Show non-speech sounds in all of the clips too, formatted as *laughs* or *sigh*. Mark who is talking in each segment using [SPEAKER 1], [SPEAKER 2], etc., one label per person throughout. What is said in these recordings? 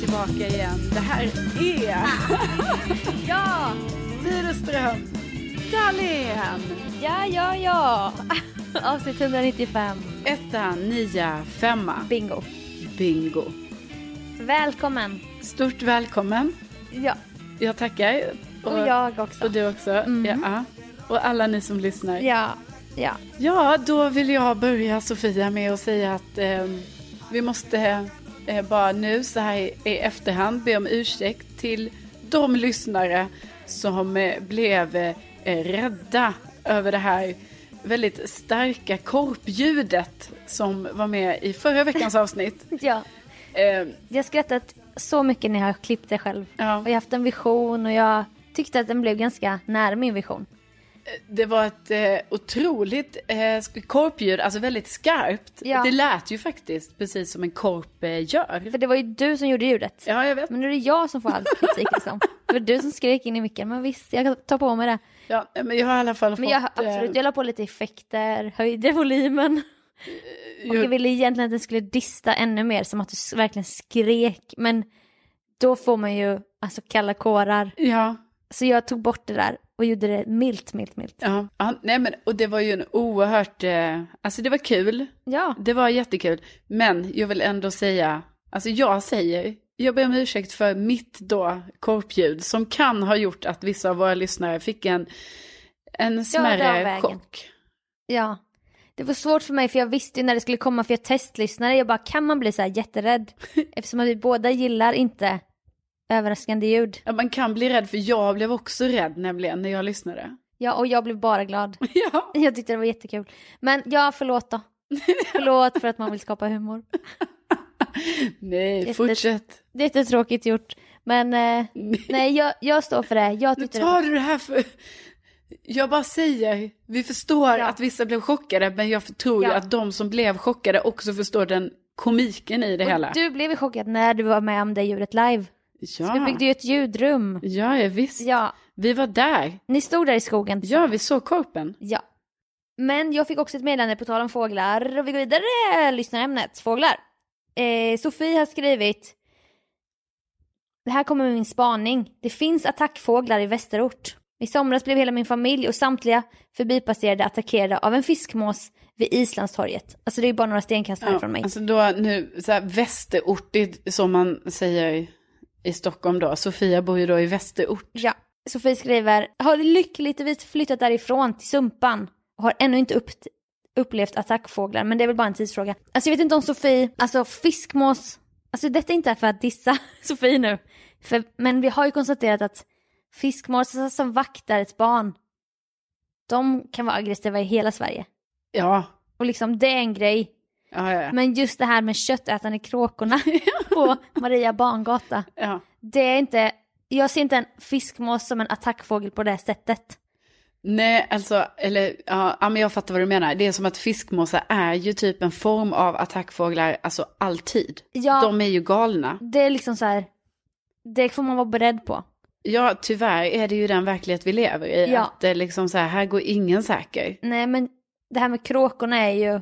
[SPEAKER 1] tillbaka igen. Det här är
[SPEAKER 2] Ja!
[SPEAKER 1] Widerström Dahlén.
[SPEAKER 2] Ja, ja, ja! *laughs* Avsnitt 195.
[SPEAKER 1] Etta, nia, femma.
[SPEAKER 2] Bingo.
[SPEAKER 1] Bingo.
[SPEAKER 2] Välkommen!
[SPEAKER 1] Stort välkommen.
[SPEAKER 2] Ja,
[SPEAKER 1] Jag tackar.
[SPEAKER 2] och jag Mm. också.
[SPEAKER 1] Och du också. Ja. Och alla ni som lyssnar.
[SPEAKER 2] Ja, ja.
[SPEAKER 1] Ja, då vill jag börja Sofia med att säga att eh, vi måste eh, bara nu så här i i efterhand be om ursäkt till de lyssnare som eh, blev eh, rädda över det här väldigt starka korpljudet som var med i förra veckans avsnitt.
[SPEAKER 2] ja.
[SPEAKER 1] Eh,
[SPEAKER 2] Jag har skrattat så mycket när jag har klippt det själv.
[SPEAKER 1] Ja.
[SPEAKER 2] Och jag har haft en vision och jag tyckte att den blev ganska nära min vision.
[SPEAKER 1] Det var ett eh, otroligt eh, sk- korpljud, alltså väldigt skarpt.
[SPEAKER 2] Ja.
[SPEAKER 1] Det lät ju faktiskt precis som en korp eh, gör.
[SPEAKER 2] För det var ju du som gjorde ljudet.
[SPEAKER 1] Ja, jag vet.
[SPEAKER 2] Men nu är det jag som får all kritik *laughs* liksom. Det var du som skrek in i micken. Men visst, jag tar på mig det.
[SPEAKER 1] Ja, men jag har i alla fall
[SPEAKER 2] Men
[SPEAKER 1] fått...
[SPEAKER 2] jag, absolut,
[SPEAKER 1] eh,
[SPEAKER 2] jag la på lite effekter, höjde volymen. Och
[SPEAKER 1] ju-
[SPEAKER 2] jag ville egentligen att den skulle dista ännu mer, som att du s- verkligen skrek. Men då får man ju alltså kalla kårar.
[SPEAKER 1] Ja,
[SPEAKER 2] Så jag tog bort det där och gjorde det milt, milt, milt.
[SPEAKER 1] ja. ja nej men, och det var ju en oerhört... Eh, alltså det var kul.
[SPEAKER 2] Ja,
[SPEAKER 1] Det var jättekul. Men jag vill ändå säga... Alltså jag säger... Jag ber om ursäkt för mitt då korpljud som kan ha gjort att vissa av våra lyssnare fick en, en
[SPEAKER 2] av
[SPEAKER 1] smärre
[SPEAKER 2] vägen.
[SPEAKER 1] chock.
[SPEAKER 2] ja. Det var svårt för mig för jag visste ju när det skulle komma för jag testlyssnade. Jag bara, kan man bli så här jätterädd? Eftersom att vi båda gillar inte överraskande ljud.
[SPEAKER 1] Ja, man kan bli rädd, för jag blev också rädd nämligen när jag lyssnade. *laughs*
[SPEAKER 2] Ja, och jag blev bara glad. *laughs*
[SPEAKER 1] Ja,
[SPEAKER 2] Jag tyckte det var jättekul. Men ja, förlåt då. Förlåt för att man vill skapa humor.
[SPEAKER 1] nej,
[SPEAKER 2] Jätte-
[SPEAKER 1] fortsätt.
[SPEAKER 2] Det är jättetråkigt gjort. Men eh, nej, jag, jag står för det.
[SPEAKER 1] *laughs*
[SPEAKER 2] Jag
[SPEAKER 1] Nu
[SPEAKER 2] tyckte det
[SPEAKER 1] tar
[SPEAKER 2] var...
[SPEAKER 1] du det här för... Jag bara säger, vi förstår
[SPEAKER 2] Ja.
[SPEAKER 1] att vissa blev chockade, men jag tror ju
[SPEAKER 2] Ja.
[SPEAKER 1] att de som blev chockade också förstår den komiken i det hela.
[SPEAKER 2] Och du blev ju chockad när du var med om det ljudet live. Så vi
[SPEAKER 1] Ja,
[SPEAKER 2] byggde ju ett ljudrum.
[SPEAKER 1] ja, ja visst.
[SPEAKER 2] Ja,
[SPEAKER 1] Vi var där.
[SPEAKER 2] ni stod där i skogen.
[SPEAKER 1] Ja, vi såg korpen.
[SPEAKER 2] ja. Men jag fick också ett meddelande på tal om fåglar. Och vi går vidare, eh, lyssnarämnet, fåglar. Eh, Sofie har skrivit. Det här kommer min spaning. Det finns attackfåglar i västerort. I somras blev hela min familj och samtliga förbipasserade attackerade av en fiskmås vid Islandstorget. Alltså det är ju bara några stenkast
[SPEAKER 1] Ja,
[SPEAKER 2] härifrån mig.
[SPEAKER 1] alltså då nu, så här, västerortigt som man säger i Stockholm då. Sofia bor ju då i västerort.
[SPEAKER 2] Ja. Sofie skriver, har lyckligtvis flyttat därifrån till Sumpan och har ännu inte upp, upplevt attackfåglar, men det är väl bara en tidsfråga. Alltså jag vet inte om Sofie, alltså fiskmås, alltså detta är inte för att dissa *laughs* Sofie nu, för, men vi har ju konstaterat att fiskmås alltså, som vaktar ett barn, de kan vara aggressiva i hela Sverige.
[SPEAKER 1] Ja,
[SPEAKER 2] Och liksom det är en grej.
[SPEAKER 1] ja, ja. ja.
[SPEAKER 2] Men just det här med köttätande kråkorna *laughs* på Maria Barngata.
[SPEAKER 1] ja.
[SPEAKER 2] Det är inte, jag ser inte en fiskmås som en attackfågel på det sättet.
[SPEAKER 1] Nej, alltså, eller ja, ja, men jag fattar vad du menar. Det är som att fiskmåsar är ju typ en form av attackfåglar, alltså alltid.
[SPEAKER 2] Ja,
[SPEAKER 1] De är ju galna.
[SPEAKER 2] det är liksom så här, det får man vara beredd på.
[SPEAKER 1] Ja, tyvärr är det ju den verklighet vi lever i.
[SPEAKER 2] Ja.
[SPEAKER 1] Att det är liksom så här, här går ingen säker.
[SPEAKER 2] Nej men det här med kråkorna är ju,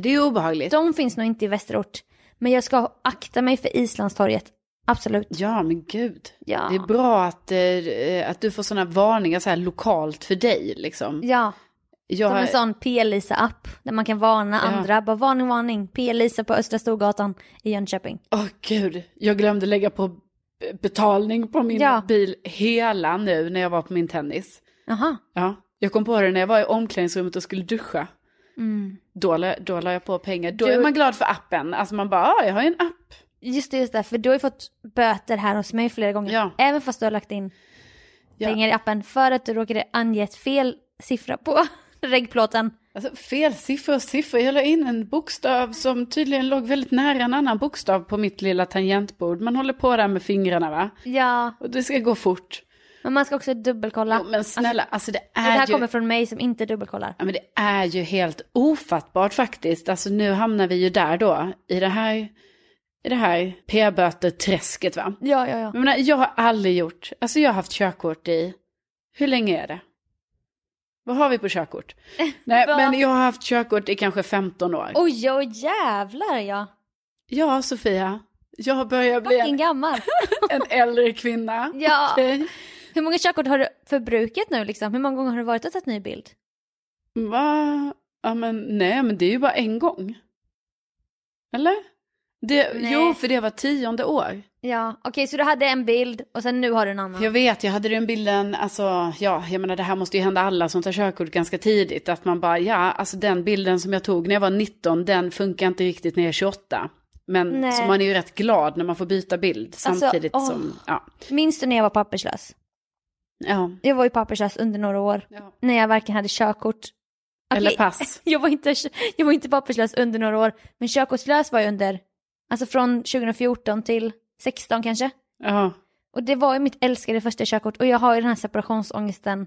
[SPEAKER 1] Det är ju obehagligt.
[SPEAKER 2] de finns nog inte i västerort. Men jag ska akta mig för Islandstorget, absolut.
[SPEAKER 1] Ja, men gud.
[SPEAKER 2] Ja.
[SPEAKER 1] Det är bra att, eh, att du får sådana varningar så här lokalt för dig liksom.
[SPEAKER 2] Ja,
[SPEAKER 1] Jag,
[SPEAKER 2] som en sån P-Lisa-app där man kan varna andra. Bara varning, varning, P-Lisa på Östra Storgatan i Jönköping.
[SPEAKER 1] Åh gud, jag glömde lägga på b- betalning på min
[SPEAKER 2] Ja.
[SPEAKER 1] bil hela nu när jag var på min tennis.
[SPEAKER 2] Jaha,
[SPEAKER 1] Ja, jag kom på det när jag var i omklädningsrummet och skulle duscha.
[SPEAKER 2] mm.
[SPEAKER 1] Då la, då la jag på pengar. Då
[SPEAKER 2] Du-
[SPEAKER 1] är man glad för appen. Alltså man bara, ah, jag har ju en app.
[SPEAKER 2] just det, just det, för du har ju fått böter här hos mig flera gånger.
[SPEAKER 1] Ja.
[SPEAKER 2] Även fast du har lagt in
[SPEAKER 1] Ja.
[SPEAKER 2] pengar i appen för att du råkade ange ett fel siffra på *laughs* reggplåten.
[SPEAKER 1] Alltså, fel siffror och siffror. Jag la in en bokstav som tydligen låg väldigt nära en annan bokstav på mitt lilla tangentbord. Man håller på där med fingrarna va?
[SPEAKER 2] Ja,
[SPEAKER 1] Och det ska gå fort.
[SPEAKER 2] men man ska också dubbelkolla.
[SPEAKER 1] Jo, men snälla, alltså det
[SPEAKER 2] Och det här
[SPEAKER 1] är ju...
[SPEAKER 2] kommer från mig som inte dubbelkollar.
[SPEAKER 1] Ja, men det är ju helt ofattbart faktiskt. Alltså nu hamnar vi ju där då, i det här, i det här p-böter-träsket va?
[SPEAKER 2] Ja, ja, ja.
[SPEAKER 1] Jag, menar, jag har aldrig gjort, alltså jag har haft körkort i, hur länge är det? Vad har vi på
[SPEAKER 2] *laughs*
[SPEAKER 1] körkort? Nej,
[SPEAKER 2] Va?
[SPEAKER 1] men jag har haft körkort i kanske 15 år.
[SPEAKER 2] Oj, oj, jävlar ja.
[SPEAKER 1] Ja, Sofia, Jag börjar bli
[SPEAKER 2] Fucking
[SPEAKER 1] en,
[SPEAKER 2] gammal. *laughs*
[SPEAKER 1] en äldre kvinna.
[SPEAKER 2] Ja.
[SPEAKER 1] Okej.
[SPEAKER 2] Hur många körkort har du förbrukat nu liksom? Hur många gånger har du varit och tagit ny bild?
[SPEAKER 1] Va? Ja, men nej, men det är ju bara en gång. Eller? Det,
[SPEAKER 2] Nej.
[SPEAKER 1] jo, för det var tionde år.
[SPEAKER 2] Ja, okej så du hade en bild och sen nu har du en annan.
[SPEAKER 1] Jag vet, jag hade den bilden, alltså ja, jag menar det här måste ju hända alla som tar körkort ganska tidigt. Att man bara, ja, alltså den bilden som jag tog när jag var 19, den funkar inte riktigt när jag är 28. Men
[SPEAKER 2] Nej. Alltså,
[SPEAKER 1] så man är ju rätt glad när man får byta bild samtidigt
[SPEAKER 2] åh.
[SPEAKER 1] som, ja.
[SPEAKER 2] Minns du när jag var papperslös?
[SPEAKER 1] ja.
[SPEAKER 2] Jag var ju papperslös under några år. När jag varken hade körkort. Okej,
[SPEAKER 1] Eller pass.
[SPEAKER 2] *laughs* Jag var, inte, jag var inte papperslös under några år. Men körkortslös var jag under, alltså från 2014 till 16 kanske. *laughs*
[SPEAKER 1] Ja.
[SPEAKER 2] Och det var ju mitt älskade första körkort och jag har ju den här separationsångesten.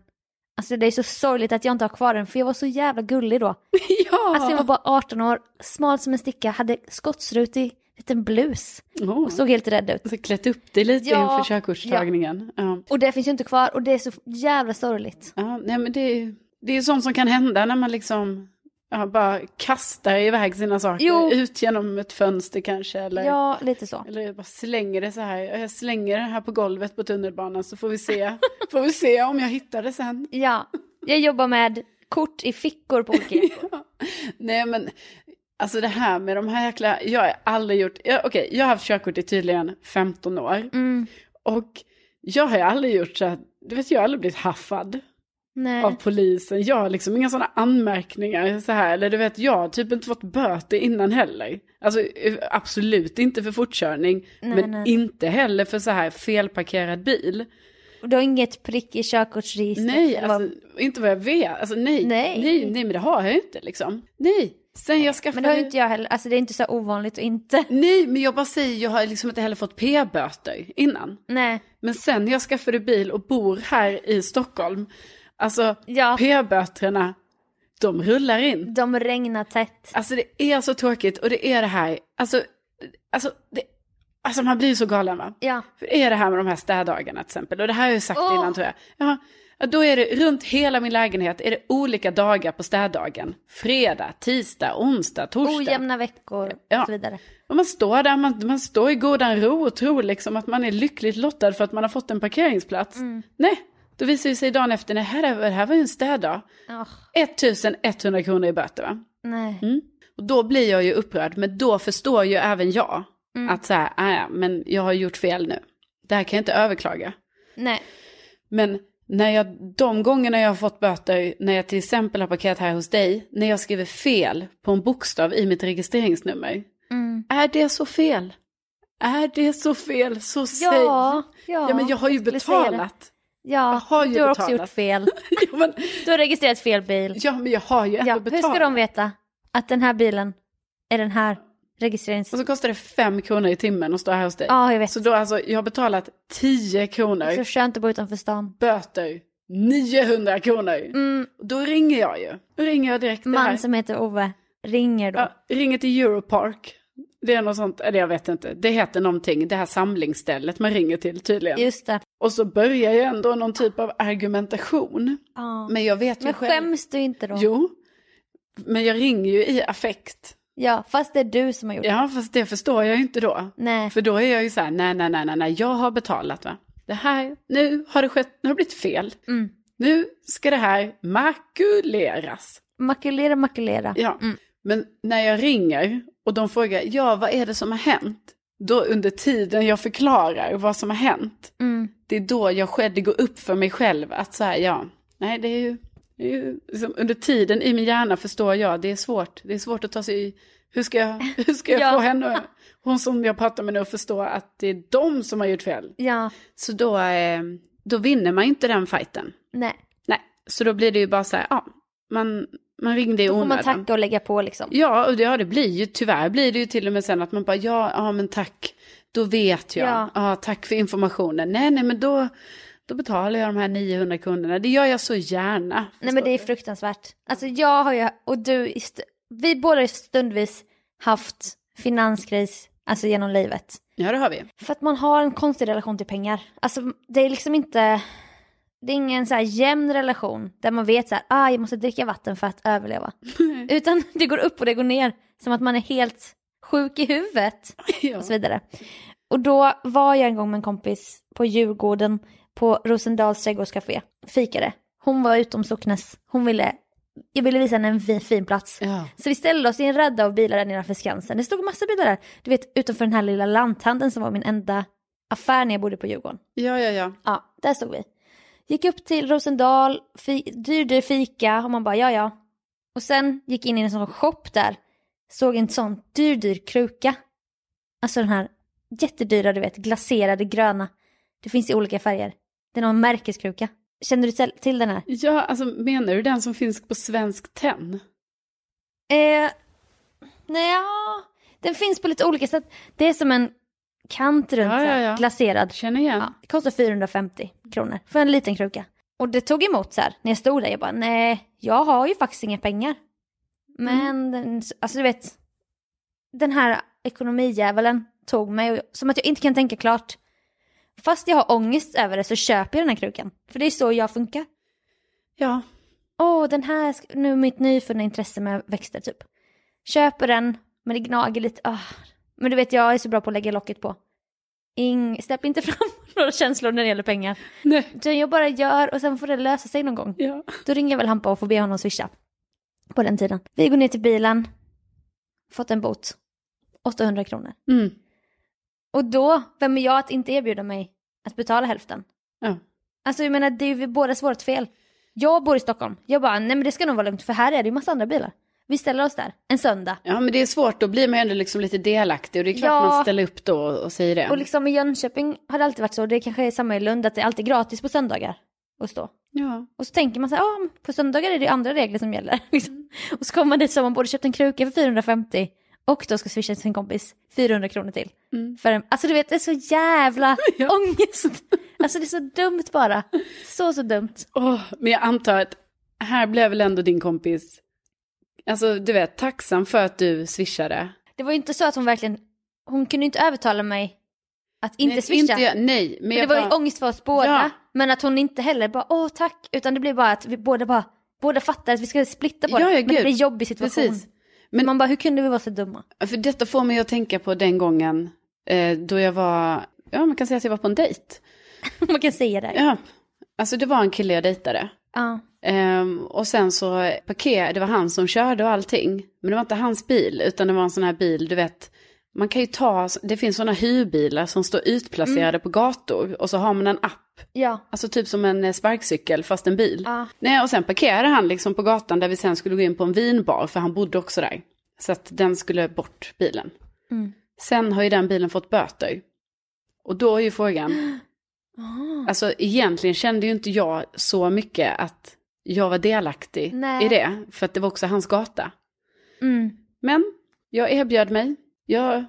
[SPEAKER 2] Alltså det är så sorgligt att jag inte har kvar den för jag var så jävla gullig då.
[SPEAKER 1] ja.
[SPEAKER 2] Alltså jag var bara 18 år, smal som en sticka, hade skottsrutig liten blus
[SPEAKER 1] Åh.
[SPEAKER 2] och såg helt rädd ut.
[SPEAKER 1] Så klätt upp dig lite
[SPEAKER 2] Ja,
[SPEAKER 1] inför körkortstagningen. Ja.
[SPEAKER 2] Och det finns ju inte kvar och det är så jävla sorgligt.
[SPEAKER 1] Ja, nej, men det, är- det är sånt som kan hända när man liksom ja, bara kastar iväg sina saker.
[SPEAKER 2] Jo.
[SPEAKER 1] Ut genom ett fönster kanske. Eller,
[SPEAKER 2] Ja, lite så.
[SPEAKER 1] eller jag bara slänger det så här. Jag slänger det här på golvet på tunnelbanan så får vi se, *laughs* får vi se om jag hittar det sen.
[SPEAKER 2] Ja, jag jobbar med kort i fickor på olika
[SPEAKER 1] Nej men, alltså det här med de här jäkla, jag har aldrig gjort, jag, okej jag har haft körkort i tydligen 15 år.
[SPEAKER 2] mm,
[SPEAKER 1] Och jag har aldrig gjort så här, du vet jag har aldrig blivit haffad. av
[SPEAKER 2] Nej,
[SPEAKER 1] polisen. Jag har liksom inga sådana anmärkningar så här. Eller du vet, jag har typ inte fått böter innan heller. Alltså eh, absolut inte för fortkörning.
[SPEAKER 2] Nej,
[SPEAKER 1] men
[SPEAKER 2] nej.
[SPEAKER 1] inte heller för så här felparkerad bil.
[SPEAKER 2] och du har inget prick i körkortsregistret?
[SPEAKER 1] Nej,
[SPEAKER 2] eller
[SPEAKER 1] alltså, inte vad jag vet. Alltså nej,
[SPEAKER 2] Nej.
[SPEAKER 1] nej, nej, men det har jag ju inte liksom. Nej, sen jag
[SPEAKER 2] vad?
[SPEAKER 1] skaffade...
[SPEAKER 2] Men det har ju inte jag heller, alltså det är inte så ovanligt och inte. *laughs*
[SPEAKER 1] Nej, men jag bara säger, jag har liksom inte heller fått p-böter innan.
[SPEAKER 2] Nej,
[SPEAKER 1] Men sen när jag skaffade bil och bor här i Stockholm, alltså
[SPEAKER 2] ja,
[SPEAKER 1] p-böterna, de rullar in.
[SPEAKER 2] de regnar tätt.
[SPEAKER 1] Alltså det är så tråkigt och det är det här, alltså, alltså, det, alltså man blir så galen va?
[SPEAKER 2] Ja,
[SPEAKER 1] För det är det här med de här städdagarna till exempel, och det här har jag ju sagt
[SPEAKER 2] Åh!
[SPEAKER 1] innan tror jag. Ja, ja, då är det runt hela min lägenhet är det olika dagar på städdagen. Fredag, tisdag, onsdag, torsdag.
[SPEAKER 2] ojämna veckor
[SPEAKER 1] Ja.
[SPEAKER 2] och så vidare.
[SPEAKER 1] Och man står där, man, man står i godan ro och tror liksom att man är lyckligt lottad för att man har fått en parkeringsplats. Nej, då visar det sig dagen efter, nej här, är- det här var ju en städdag.
[SPEAKER 2] Åh,
[SPEAKER 1] 1100 kronor i böter va?
[SPEAKER 2] nej.
[SPEAKER 1] Och då blir jag ju upprörd, men då förstår ju även jag att så här, "Ah, ja, men jag har gjort fel nu. Det här kan jag inte överklaga.
[SPEAKER 2] Nej,
[SPEAKER 1] Men när jag, de gångerna jag har fått böter, när jag till exempel har parkerat här hos dig, när jag skriver fel på en bokstav i mitt registreringsnummer,
[SPEAKER 2] mm.
[SPEAKER 1] är det så fel? Är det så fel, så säg.
[SPEAKER 2] Ja, ja.
[SPEAKER 1] ja men jag har ju
[SPEAKER 2] skulle säga det.
[SPEAKER 1] betalat. *laughs*
[SPEAKER 2] Ja,
[SPEAKER 1] Jag har ju
[SPEAKER 2] du har också
[SPEAKER 1] betalat.
[SPEAKER 2] gjort fel.
[SPEAKER 1] ja, men,
[SPEAKER 2] Du har registrerat fel bil.
[SPEAKER 1] ja, men *laughs* jag har ju ändå
[SPEAKER 2] Ja, hur
[SPEAKER 1] betalat.
[SPEAKER 2] ska de veta att den här bilen är den här registrerings...
[SPEAKER 1] Och så kostar det fem kronor i timmen att stå här hos dig.
[SPEAKER 2] Ja, Alltså, jag vet.
[SPEAKER 1] Alltså, Så då alltså, jag har betalat 10 kronor.
[SPEAKER 2] Så skönt att bo utanför stan.
[SPEAKER 1] böter 900 kronor.
[SPEAKER 2] Mm,
[SPEAKER 1] Då ringer jag ju. Då ringer jag direkt det här.
[SPEAKER 2] man som heter Ove ringer då.
[SPEAKER 1] Ja, ringer till Europark. Det är något sånt, eller jag vet inte. Det heter någonting, det här samlingsstället man ringer till tydligen.
[SPEAKER 2] Just det.
[SPEAKER 1] Och så börjar ju ändå någon typ av argumentation.
[SPEAKER 2] Ja. Men,
[SPEAKER 1] Men jag vet ju typ själv.
[SPEAKER 2] skäms du inte då?
[SPEAKER 1] Jo. Men jag ringer ju i affekt.
[SPEAKER 2] Ja, fast det är du som har gjort det.
[SPEAKER 1] Ja, fast det förstår jag ju inte då.
[SPEAKER 2] Nej.
[SPEAKER 1] För då är jag ju så här, nej, nej, nej, nej, nej, jag har betalat va. Det här, nu har det skett, nu har det blivit fel.
[SPEAKER 2] Mm.
[SPEAKER 1] Nu ska det här makuleras.
[SPEAKER 2] Makulera, makulera.
[SPEAKER 1] Ja.
[SPEAKER 2] Mm.
[SPEAKER 1] Men när jag ringer och de frågar, ja vad är det som har hänt? Då under tiden jag förklarar vad som har hänt,
[SPEAKER 2] Mm.
[SPEAKER 1] det är då jag själv, det går upp för mig själv att så här, ja, nej det är ju, det är ju liksom, under tiden i min hjärna förstår jag, det är svårt, det är svårt att ta sig i, hur ska
[SPEAKER 2] *laughs*
[SPEAKER 1] jag, hur ska jag
[SPEAKER 2] Ja.
[SPEAKER 1] få henne, hon som jag pratar med nu att förstå att det är de som har gjort fel.
[SPEAKER 2] Ja,
[SPEAKER 1] Så då, eh, då vinner man ju inte den fighten.
[SPEAKER 2] nej.
[SPEAKER 1] Nej, så då blir det ju bara så här, ja, man, man ringde i
[SPEAKER 2] Då får man
[SPEAKER 1] onödan.
[SPEAKER 2] tacka och lägga på liksom.
[SPEAKER 1] Ja, och det, ja, det blir ju, tyvärr blir det ju till och med sen att man bara, ja, ja men tack, då vet jag,
[SPEAKER 2] Ja.
[SPEAKER 1] ja. tack för informationen. Nej, nej, men då, då betalar jag de här 900 kronorna, det gör jag så gärna.
[SPEAKER 2] Nej men det är fruktansvärt. Alltså jag har ju, och du, i st- vi båda har ju stundvis haft finanskris, alltså genom livet.
[SPEAKER 1] Ja, det har
[SPEAKER 2] *laughs*
[SPEAKER 1] vi.
[SPEAKER 2] För att man har en konstig relation till pengar. Alltså det är liksom inte, det är ingen så här jämn relation där man vet så här, *laughs* ah jag måste dricka vatten för att överleva. Utan det går upp och det går ner, som att man är helt sjuk i huvudet
[SPEAKER 1] Ja.
[SPEAKER 2] och så vidare. Och då var jag en gång med en kompis på Djurgården på Rosendals trädgårdscafé, fikade. Hon var utom socknes, hon ville, jag ville visa henne en fin, fin plats.
[SPEAKER 1] Ja.
[SPEAKER 2] Så vi ställde oss i en radda av bilar där nedanför Skansen. Det stod massa bilar där, du vet utanför den här lilla lanthandeln som var min enda affär när jag bodde på Djurgården.
[SPEAKER 1] ja, ja, ja.
[SPEAKER 2] Ja, där stod vi. Gick upp till Rosendal, fi- dyr, dyr fika och man bara ja ja. Och sen gick in i en sån shop där, såg en sån dyr, dyr kruka. Alltså den här jättedyra, du vet, glaserade gröna. Det finns i olika färger. Det är någon märkeskruka. Känner du till- till den här?
[SPEAKER 1] Ja, alltså menar du den som finns på Svensk Tenn?
[SPEAKER 2] Eh, nej, ja. Den finns på lite olika sätt. Det är som en kant runt
[SPEAKER 1] Ja,
[SPEAKER 2] så här,
[SPEAKER 1] ja, ja.
[SPEAKER 2] glaserad.
[SPEAKER 1] Känner igen.
[SPEAKER 2] Ja, det kostar 450 kronor för en liten kruka. Och det tog emot så här när jag stod där. Jag bara, nej, jag har ju faktiskt inga pengar. Men
[SPEAKER 1] Mm.
[SPEAKER 2] den, alltså du vet, den här ekonomijävelen tog mig och, som att jag inte kan tänka klart. Fast jag har ångest över det så köper jag den här krukan. För det är så jag funkar.
[SPEAKER 1] Ja.
[SPEAKER 2] Åh, den här, sk- nu mitt nyfunna intresse med växter typ. Köper den, men det gnager lite. Ah. Men du vet, jag är så bra på att lägga locket på. Ing, släpp inte fram *laughs* några känslor när det gäller pengar.
[SPEAKER 1] Nej.
[SPEAKER 2] Utan jag bara gör och sen får det lösa sig någon gång.
[SPEAKER 1] Ja.
[SPEAKER 2] Då ringer jag väl Hampa och får be honom swisha. På den tiden. Vi går ner till bilen. Fått en bot. 800 kronor.
[SPEAKER 1] Mm.
[SPEAKER 2] Och då, vem är jag att inte erbjuda mig att betala hälften?
[SPEAKER 1] Ja.
[SPEAKER 2] Alltså jag menar, det är ju båda vårt fel. Jag bor i Stockholm. Jag bara, nej men det ska nog vara lugnt för här är det ju massa andra bilar. Vi ställer oss där en söndag.
[SPEAKER 1] ja, men det är svårt. Då blir man ju ändå liksom lite delaktig. Och det är klart
[SPEAKER 2] Ja.
[SPEAKER 1] man ställer upp då och och säger det.
[SPEAKER 2] Och liksom i Jönköping har det alltid varit så, det kanske är samma i Lund, att det är alltid gratis på söndagar att stå.
[SPEAKER 1] Ja.
[SPEAKER 2] Och så tänker man så här, ah, men på söndagar är det ju andra regler som gäller. *laughs* Liksom. Och så kommer man dit så har man både köpt en kruka för 450 och då ska swisha till sin kompis 400 kronor till.
[SPEAKER 1] Mm.
[SPEAKER 2] För en, alltså du vet, det är så jävla
[SPEAKER 1] *laughs* Ja.
[SPEAKER 2] ångest. Alltså det är så dumt bara. Så, så dumt.
[SPEAKER 1] Åh, men jag antar att här blev väl ändå din kompis, alltså du vet, tacksam för att du swishade.
[SPEAKER 2] Det var ju inte så att hon verkligen, hon kunde ju inte övertala mig att inte
[SPEAKER 1] nej,
[SPEAKER 2] swisha.
[SPEAKER 1] Inte jag, nej, men
[SPEAKER 2] För det
[SPEAKER 1] jag
[SPEAKER 2] var ju
[SPEAKER 1] bara,
[SPEAKER 2] ångest för oss båda.
[SPEAKER 1] Ja.
[SPEAKER 2] Men att hon inte heller bara åh tack, utan det blev bara att vi båda bara, båda fattar att vi ska splitta på
[SPEAKER 1] Ja,
[SPEAKER 2] det.
[SPEAKER 1] ja,
[SPEAKER 2] Men det
[SPEAKER 1] gud.
[SPEAKER 2] blir en jobbig situation.
[SPEAKER 1] precis.
[SPEAKER 2] Men...
[SPEAKER 1] Men-
[SPEAKER 2] Man bara hur kunde vi vara så dumma? *laughs*
[SPEAKER 1] För detta får mig att tänka på den gången eh, då jag var, ja man kan säga att jag var på en dejt.
[SPEAKER 2] Man kan säga det. Ja.
[SPEAKER 1] Ja, alltså det var en kille jag dejtade. Ehm, och sen så parkerade, det var han som körde och allting. Men det var inte hans bil, utan det var en sån här bil, du vet. Man kan ju ta, det finns såna hyrbilar som står utplacerade
[SPEAKER 2] Mm.
[SPEAKER 1] på gator. Och så har man en app,
[SPEAKER 2] Ja.
[SPEAKER 1] alltså typ som en eh, sparkcykel fast en bil.
[SPEAKER 2] Ja.
[SPEAKER 1] Nej, och sen parkerade han liksom på gatan där vi sen skulle gå in på en vinbar, för han bodde också där. Så att den skulle bort, bilen.
[SPEAKER 2] Mm.
[SPEAKER 1] Sen har ju den bilen fått böter. Och då är ju frågan,
[SPEAKER 2] *gasps* Ah.
[SPEAKER 1] Alltså egentligen kände ju inte jag så mycket att jag var delaktig
[SPEAKER 2] Nej.
[SPEAKER 1] i det, för att det var också hans gata.
[SPEAKER 2] Mm.
[SPEAKER 1] Men jag erbjöd mig, jag,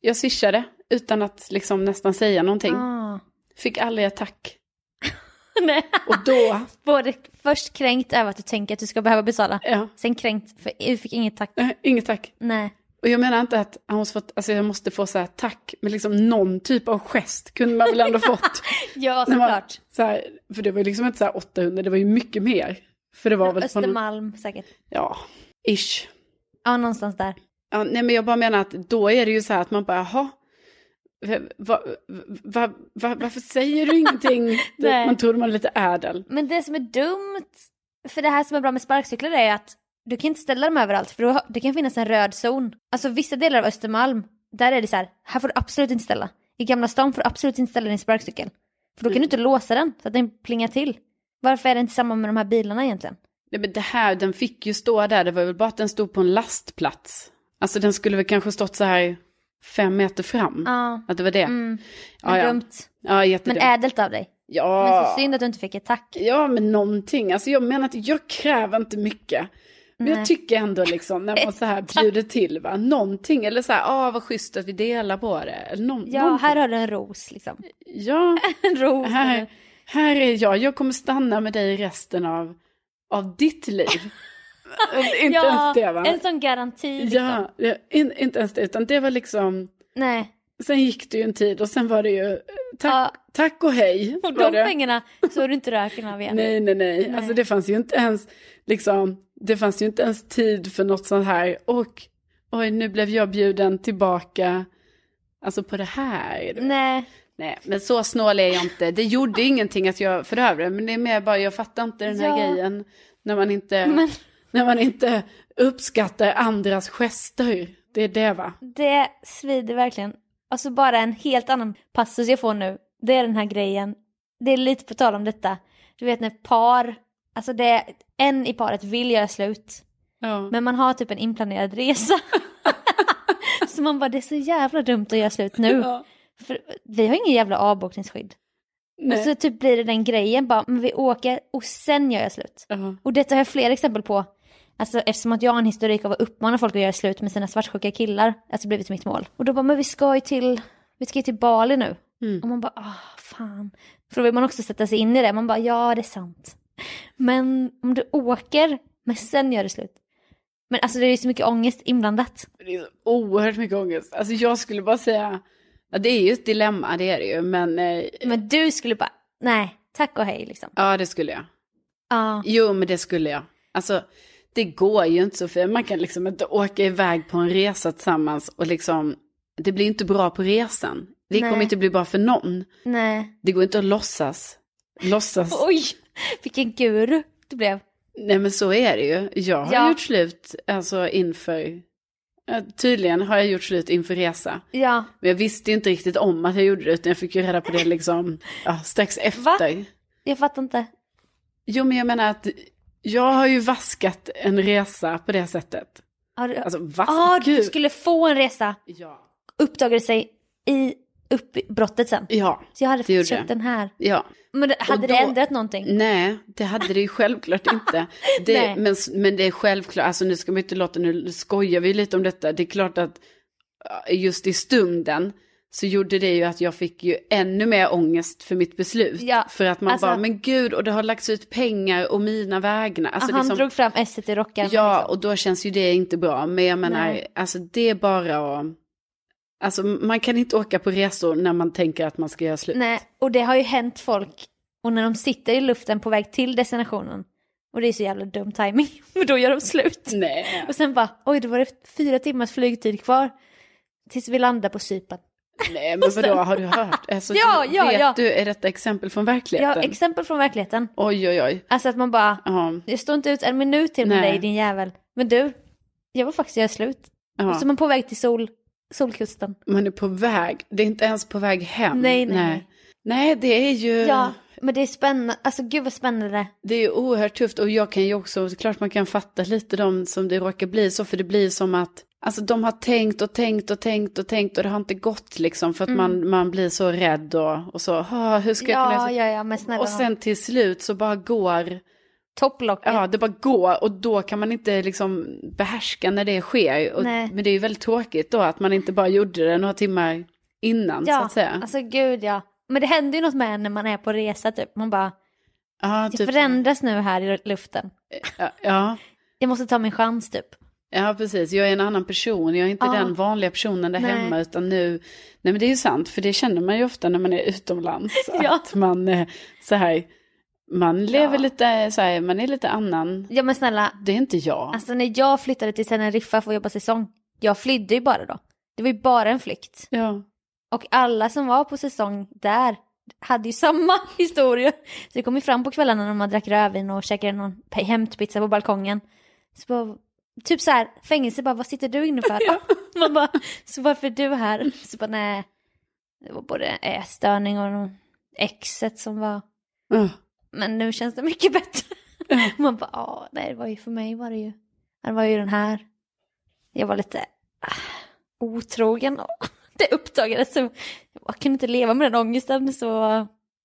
[SPEAKER 1] jag swishade utan att liksom nästan säga någonting.
[SPEAKER 2] Ah.
[SPEAKER 1] Fick aldrig ett tack.
[SPEAKER 2] *laughs* Nej.
[SPEAKER 1] Och
[SPEAKER 2] *laughs*
[SPEAKER 1] då,
[SPEAKER 2] Både först kränkt över att du tänker att du ska behöva betala.
[SPEAKER 1] ja,
[SPEAKER 2] Sen kränkt för du fick inget tack.
[SPEAKER 1] eh, inget tack.
[SPEAKER 2] Nej.
[SPEAKER 1] Och jag menar inte att han måste få, alltså jag måste få så här tack, men liksom någon typ av gest kunde man
[SPEAKER 2] *laughs*
[SPEAKER 1] väl ändå fått.
[SPEAKER 2] Ja
[SPEAKER 1] När man,
[SPEAKER 2] såklart.
[SPEAKER 1] så här, för det var ju liksom inte så här 800, det var ju mycket mer. För det var väl på någon,
[SPEAKER 2] Östermalm säkert.
[SPEAKER 1] ja, ish.
[SPEAKER 2] Ja någonstans där.
[SPEAKER 1] Ja, nej, men jag bara menar att då är det ju så här att man bara, jaha, va, va, va, varför säger du
[SPEAKER 2] *laughs*
[SPEAKER 1] ingenting?
[SPEAKER 2] Nej.
[SPEAKER 1] man tror man är lite ädel.
[SPEAKER 2] Men det som är dumt, för det här som är bra med sparkcyklar är att du kan inte ställa dem överallt för då, det kan finnas en röd zon. Alltså vissa delar av Östermalm, där är det så här, här får du absolut inte ställa. I Gamla stan får du absolut inte ställa din sparkcykel. För då kan du inte låsa den så att den plingar till. Varför är det inte samma med de här bilarna egentligen?
[SPEAKER 1] Nej, men det här, den fick ju stå där, det var väl bara att den stod på en lastplats. Alltså den skulle väl kanske stått så här fem meter fram.
[SPEAKER 2] Ja,
[SPEAKER 1] Att det var det.
[SPEAKER 2] mm,
[SPEAKER 1] ja, ja.
[SPEAKER 2] dumt.
[SPEAKER 1] ja
[SPEAKER 2] Men
[SPEAKER 1] jättedumt.
[SPEAKER 2] ädelt av dig. Men så
[SPEAKER 1] ja.
[SPEAKER 2] synd att du inte fick ett tack.
[SPEAKER 1] ja, men någonting. Alltså jag menar att jag kräver inte mycket. Men
[SPEAKER 2] Nej.
[SPEAKER 1] jag tycker ändå liksom när man så
[SPEAKER 2] *laughs*
[SPEAKER 1] här bjuder till, va? någonting. Eller så här, ah, vad schysst att vi delar på det. Eller någon,
[SPEAKER 2] Ja,
[SPEAKER 1] någonting.
[SPEAKER 2] här har du en ros liksom. *laughs*
[SPEAKER 1] Ja,
[SPEAKER 2] En ros.
[SPEAKER 1] här, här är jag. Jag kommer stanna med dig resten av, av ditt
[SPEAKER 2] *laughs*
[SPEAKER 1] liv. Eh, inte
[SPEAKER 2] ja,
[SPEAKER 1] ens det va?
[SPEAKER 2] en sån garanti. Liksom.
[SPEAKER 1] Ja, ja, in, inte ens det. Utan det var liksom,
[SPEAKER 2] Nej.
[SPEAKER 1] sen gick det ju en tid och sen var det ju eh, tack,
[SPEAKER 2] Ja.
[SPEAKER 1] tack och hej.
[SPEAKER 2] Och
[SPEAKER 1] var
[SPEAKER 2] de
[SPEAKER 1] det.
[SPEAKER 2] pengarna såg du inte röken av igen.
[SPEAKER 1] Nej, nej, nej.
[SPEAKER 2] Nej.
[SPEAKER 1] Alltså det fanns ju inte ens, liksom, det fanns ju inte ens tid för något sånt här. Och oj nu blev jag bjuden tillbaka, alltså på det här. du vet.
[SPEAKER 2] Nej.
[SPEAKER 1] Nej, men så snål är jag inte. Det gjorde ingenting att jag förövrade, men det är mer bara jag fattar inte den här
[SPEAKER 2] Ja.
[SPEAKER 1] grejen. När man, inte,
[SPEAKER 2] Men
[SPEAKER 1] när man inte uppskattar andras gester. Det är det va?
[SPEAKER 2] det svider verkligen. Alltså bara en helt annan passus jag får nu. Det är den här grejen. Det är lite på tal om detta. Du vet när par, alltså det är en i paret vill göra slut.
[SPEAKER 1] Ja.
[SPEAKER 2] Men man har typ en inplanerad resa. *laughs* så man bara, det är så jävla dumt att göra slut nu.
[SPEAKER 1] Ja.
[SPEAKER 2] För vi har ingen jävla avbokningsskydd. Och
[SPEAKER 1] Nej.
[SPEAKER 2] så typ blir det den grejen bara, men vi åker och sen gör jag slut.
[SPEAKER 1] Ja.
[SPEAKER 2] Och detta har jag fler exempel på. Alltså eftersom att jag har en historik av att uppmana folk att göra slut med sina svartsjuka killar. Alltså blivit mitt mål. Och då bara, men vi ska ju till, vi ska ju till Bali nu.
[SPEAKER 1] Mm.
[SPEAKER 2] Och man bara, ah fan. För då vill man också sätta sig in i det. Man bara, ja det är sant. Men om du åker, men sen gör det slut. Men alltså det är ju så mycket ångest inblandat.
[SPEAKER 1] Det är så oerhört mycket ångest. Alltså jag skulle bara säga, ja, det är ju ett dilemma, det är det ju, men eh,
[SPEAKER 2] Men du skulle bara, nej, tack och hej liksom.
[SPEAKER 1] ja det skulle jag.
[SPEAKER 2] Ja,
[SPEAKER 1] Jo, men det skulle jag. Alltså, det går ju inte Sofia. Man kan liksom inte åka iväg på en resa tillsammans och liksom, det blir inte bra på resan. Det
[SPEAKER 2] Nej.
[SPEAKER 1] kommer inte bli bra för någon.
[SPEAKER 2] nej.
[SPEAKER 1] Det går inte att låtsas. Låtsas.
[SPEAKER 2] Oj, vilken guru du blev.
[SPEAKER 1] Nej, men så är det ju. Jag har
[SPEAKER 2] Ja.
[SPEAKER 1] gjort slut, alltså inför, ja, tydligen har jag gjort slut inför resa.
[SPEAKER 2] Ja,
[SPEAKER 1] Men jag visste ju inte riktigt om att jag gjorde det, utan jag fick ju reda på det liksom, ja, strax efter.
[SPEAKER 2] jag fattar inte.
[SPEAKER 1] Jo, men jag menar att jag har ju vaskat en resa på det sättet.
[SPEAKER 2] Har du...
[SPEAKER 1] Alltså, vaskat?
[SPEAKER 2] ah, du
[SPEAKER 1] Gud.
[SPEAKER 2] skulle få en resa.
[SPEAKER 1] Ja.
[SPEAKER 2] Uppdagade sig i uppbrottet sen.
[SPEAKER 1] Ja,
[SPEAKER 2] Så jag hade
[SPEAKER 1] Det gjorde
[SPEAKER 2] fått köpt
[SPEAKER 1] det.
[SPEAKER 2] den här.
[SPEAKER 1] ja.
[SPEAKER 2] Men det, hade det
[SPEAKER 1] då- Mm,
[SPEAKER 2] ändrat någonting?
[SPEAKER 1] Nej, det hade det ju självklart
[SPEAKER 2] *laughs*
[SPEAKER 1] inte. Det,
[SPEAKER 2] Nej.
[SPEAKER 1] men, men det är självklart, alltså nu ska man inte låta, nu skojar vi lite om detta. Det är klart att ja, just i stunden så gjorde det ju att jag fick ju ännu mer ångest för mitt beslut.
[SPEAKER 2] Ja,
[SPEAKER 1] för att man
[SPEAKER 2] alltså-
[SPEAKER 1] bara, men gud, och det har lagts ut pengar och mina vägnar. Alltså,
[SPEAKER 2] Ah, han
[SPEAKER 1] liksom-
[SPEAKER 2] drog fram esset i rocken.
[SPEAKER 1] Ja,
[SPEAKER 2] liksom.
[SPEAKER 1] och då känns ju det inte bra. Men jag menar,
[SPEAKER 2] Nej.
[SPEAKER 1] alltså det är bara att... Alltså man kan inte åka på resor när man tänker att man ska göra slut.
[SPEAKER 2] Nej, och det har ju hänt folk. Och när de sitter i luften på väg till destinationen. Och det är så jävla dum timing. *laughs* Men då gör
[SPEAKER 1] *laughs*
[SPEAKER 2] de slut.
[SPEAKER 1] Nej.
[SPEAKER 2] Och sen bara, oj då var det fyra timmars flygtid kvar. Tills vi landar på Cypern.
[SPEAKER 1] Nej, men vadå, har du hört? Alltså,
[SPEAKER 2] *laughs* Ja, ja,
[SPEAKER 1] vet
[SPEAKER 2] ja.
[SPEAKER 1] du, är detta exempel från
[SPEAKER 2] Ja,
[SPEAKER 1] verkligheten?
[SPEAKER 2] exempel från verkligheten.
[SPEAKER 1] oj, oj, oj.
[SPEAKER 2] Alltså att man bara,
[SPEAKER 1] Ja,
[SPEAKER 2] jag står inte ut en minut till med
[SPEAKER 1] Nej.
[SPEAKER 2] dig din jävel. Men du, jag var faktiskt göra slut. Och så är
[SPEAKER 1] ja.
[SPEAKER 2] man på väg till sol, solkusten.
[SPEAKER 1] Man är på väg, det är inte ens på väg hem.
[SPEAKER 2] Nej, nej,
[SPEAKER 1] Nej,
[SPEAKER 2] nej.
[SPEAKER 1] Nej, det är ju...
[SPEAKER 2] Ja, men det är spännande. Alltså gud vad spännande.
[SPEAKER 1] Det är ju oerhört tufft och jag kan ju också, det är klart man kan fatta lite de som det råkar bli så, för det blir som att alltså de har tänkt och tänkt och tänkt och tänkt och det har inte gått liksom
[SPEAKER 2] Mm.
[SPEAKER 1] för att man, man blir så rädd och, och så, "Ah, hur ska jag
[SPEAKER 2] Ja,
[SPEAKER 1] kunna...
[SPEAKER 2] ja, ja, men snälla.
[SPEAKER 1] och sen till slut så bara går,
[SPEAKER 2] topplocket.
[SPEAKER 1] ja det bara går och då kan man inte liksom behärska när det sker. Och,
[SPEAKER 2] Nej.
[SPEAKER 1] men det är ju väldigt tråkigt då att man inte bara gjorde det några timmar innan så
[SPEAKER 2] ja,
[SPEAKER 1] att säga.
[SPEAKER 2] alltså gud ja. Men det händer ju något med en när man är på resa typ. Man bara,
[SPEAKER 1] ja,
[SPEAKER 2] jag
[SPEAKER 1] typ,
[SPEAKER 2] förändras nu här i luften.
[SPEAKER 1] ja, ja.
[SPEAKER 2] Jag måste ta min chans typ.
[SPEAKER 1] Ja, precis. Jag är en annan person. Jag är inte
[SPEAKER 2] Ja.
[SPEAKER 1] den vanliga personen där
[SPEAKER 2] Nej.
[SPEAKER 1] hemma. Utan nu... Nej, men det är ju sant. För det känner man ju ofta när man är utomlands.
[SPEAKER 2] *laughs* Ja.
[SPEAKER 1] Att man eh, så här... Man lever
[SPEAKER 2] Ja.
[SPEAKER 1] lite så här... Man är lite annan.
[SPEAKER 2] Ja men snälla,
[SPEAKER 1] Det är inte jag.
[SPEAKER 2] alltså när jag flyttade till Teneriffa för att jobba säsong, jag flydde ju bara då. Det var ju bara en flykt.
[SPEAKER 1] Ja.
[SPEAKER 2] Och alla som var på säsong där hade ju *laughs* samma historia. Så det kom ju fram på kvällarna när man drack rödvin och käkade någon pe- hämtpizza på balkongen. Så bara, typ så här, fängelse bara, vad sitter du inne för? *laughs* Man bara, så varför är du här? Så bara, nej. Det var både ätstörning och någon exet som var,
[SPEAKER 1] Ja.
[SPEAKER 2] men nu känns det
[SPEAKER 1] *laughs*
[SPEAKER 2] mycket bättre. Man bara, ja, nej, det var ju för mig var det ju, det var ju den här. Jag var lite ah, otrogen och *laughs* det uppdagades så jag kunde inte leva med den ångesten så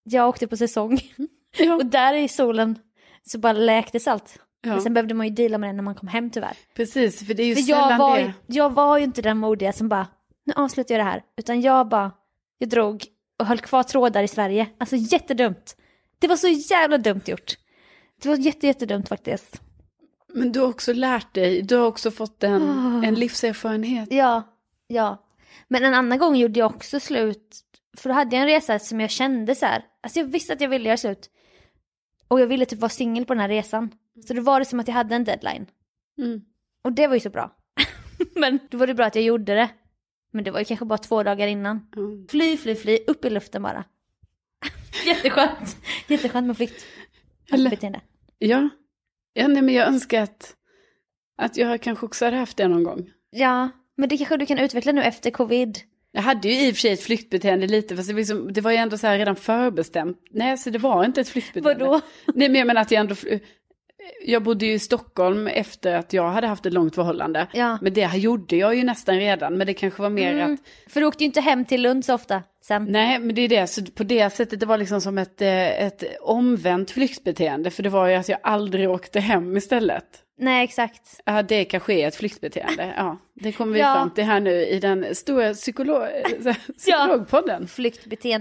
[SPEAKER 2] jag åkte på säsong.
[SPEAKER 1] Mm. Ja.
[SPEAKER 2] Och där i solen så bara läktes allt.
[SPEAKER 1] Ja.
[SPEAKER 2] Men sen behövde man ju deala med det när man kom hem tyvärr.
[SPEAKER 1] Precis, för det är ju
[SPEAKER 2] För jag
[SPEAKER 1] sällan
[SPEAKER 2] var, ju,
[SPEAKER 1] det.
[SPEAKER 2] jag var ju inte den modiga som bara, nu avslutar jag det här. Utan jag bara, jag drog och höll kvar trådar i Sverige. Alltså jättedumt. Det var så jävla dumt gjort. Det var jätte, jättedumt faktiskt.
[SPEAKER 1] Men du har också lärt dig. Du har också fått en,
[SPEAKER 2] Ah.
[SPEAKER 1] en livserfarenhet.
[SPEAKER 2] Ja, ja. Men en annan gång gjorde jag också slut. För då hade jag en resa som jag kände så här. Alltså jag visste att jag ville göra slut. Och jag ville typ vara singel på den här resan. Så då var det som att jag hade en deadline.
[SPEAKER 1] Mm.
[SPEAKER 2] Och det var ju så bra. *laughs* Men då var det bra att jag gjorde det. Men det var ju kanske bara två dagar innan.
[SPEAKER 1] Mm.
[SPEAKER 2] Fly, fly, fly, upp i luften bara. *laughs* Jätteskönt. Jätteskönt med flykt.
[SPEAKER 1] Eller-
[SPEAKER 2] Beteende.
[SPEAKER 1] Ja. ja nej, men jag önskar att, att jag kanske också hade haft det någon gång.
[SPEAKER 2] Ja, men det kanske du kan utveckla nu efter covid.
[SPEAKER 1] Jag hade ju i och för sig ett flyktbeteende lite, fast det, var liksom, det var ju ändå så här redan förbestämt. Nej, så det var inte ett flyktbeteende.
[SPEAKER 2] Vadå?
[SPEAKER 1] Nej, men jag menar att jag ändå... fly- Jag bodde ju i Stockholm efter att jag hade haft ett långt förhållande.
[SPEAKER 2] Ja. Mm.
[SPEAKER 1] Men det gjorde jag ju nästan redan, men det kanske var mer att...
[SPEAKER 2] För du åkte ju inte hem till Lund så ofta sen.
[SPEAKER 1] Nej, men det är det. Så på det sättet, det var liksom som ett, eh, ett omvänt flyktbeteende. För det var ju att jag aldrig åkte hem istället.
[SPEAKER 2] Nej, exakt.
[SPEAKER 1] Ja, det kanske är ett flyktbeteende. Ja, det kommer vi
[SPEAKER 2] Ja.
[SPEAKER 1] fram till här nu i den stora psykolog... psykologpodden.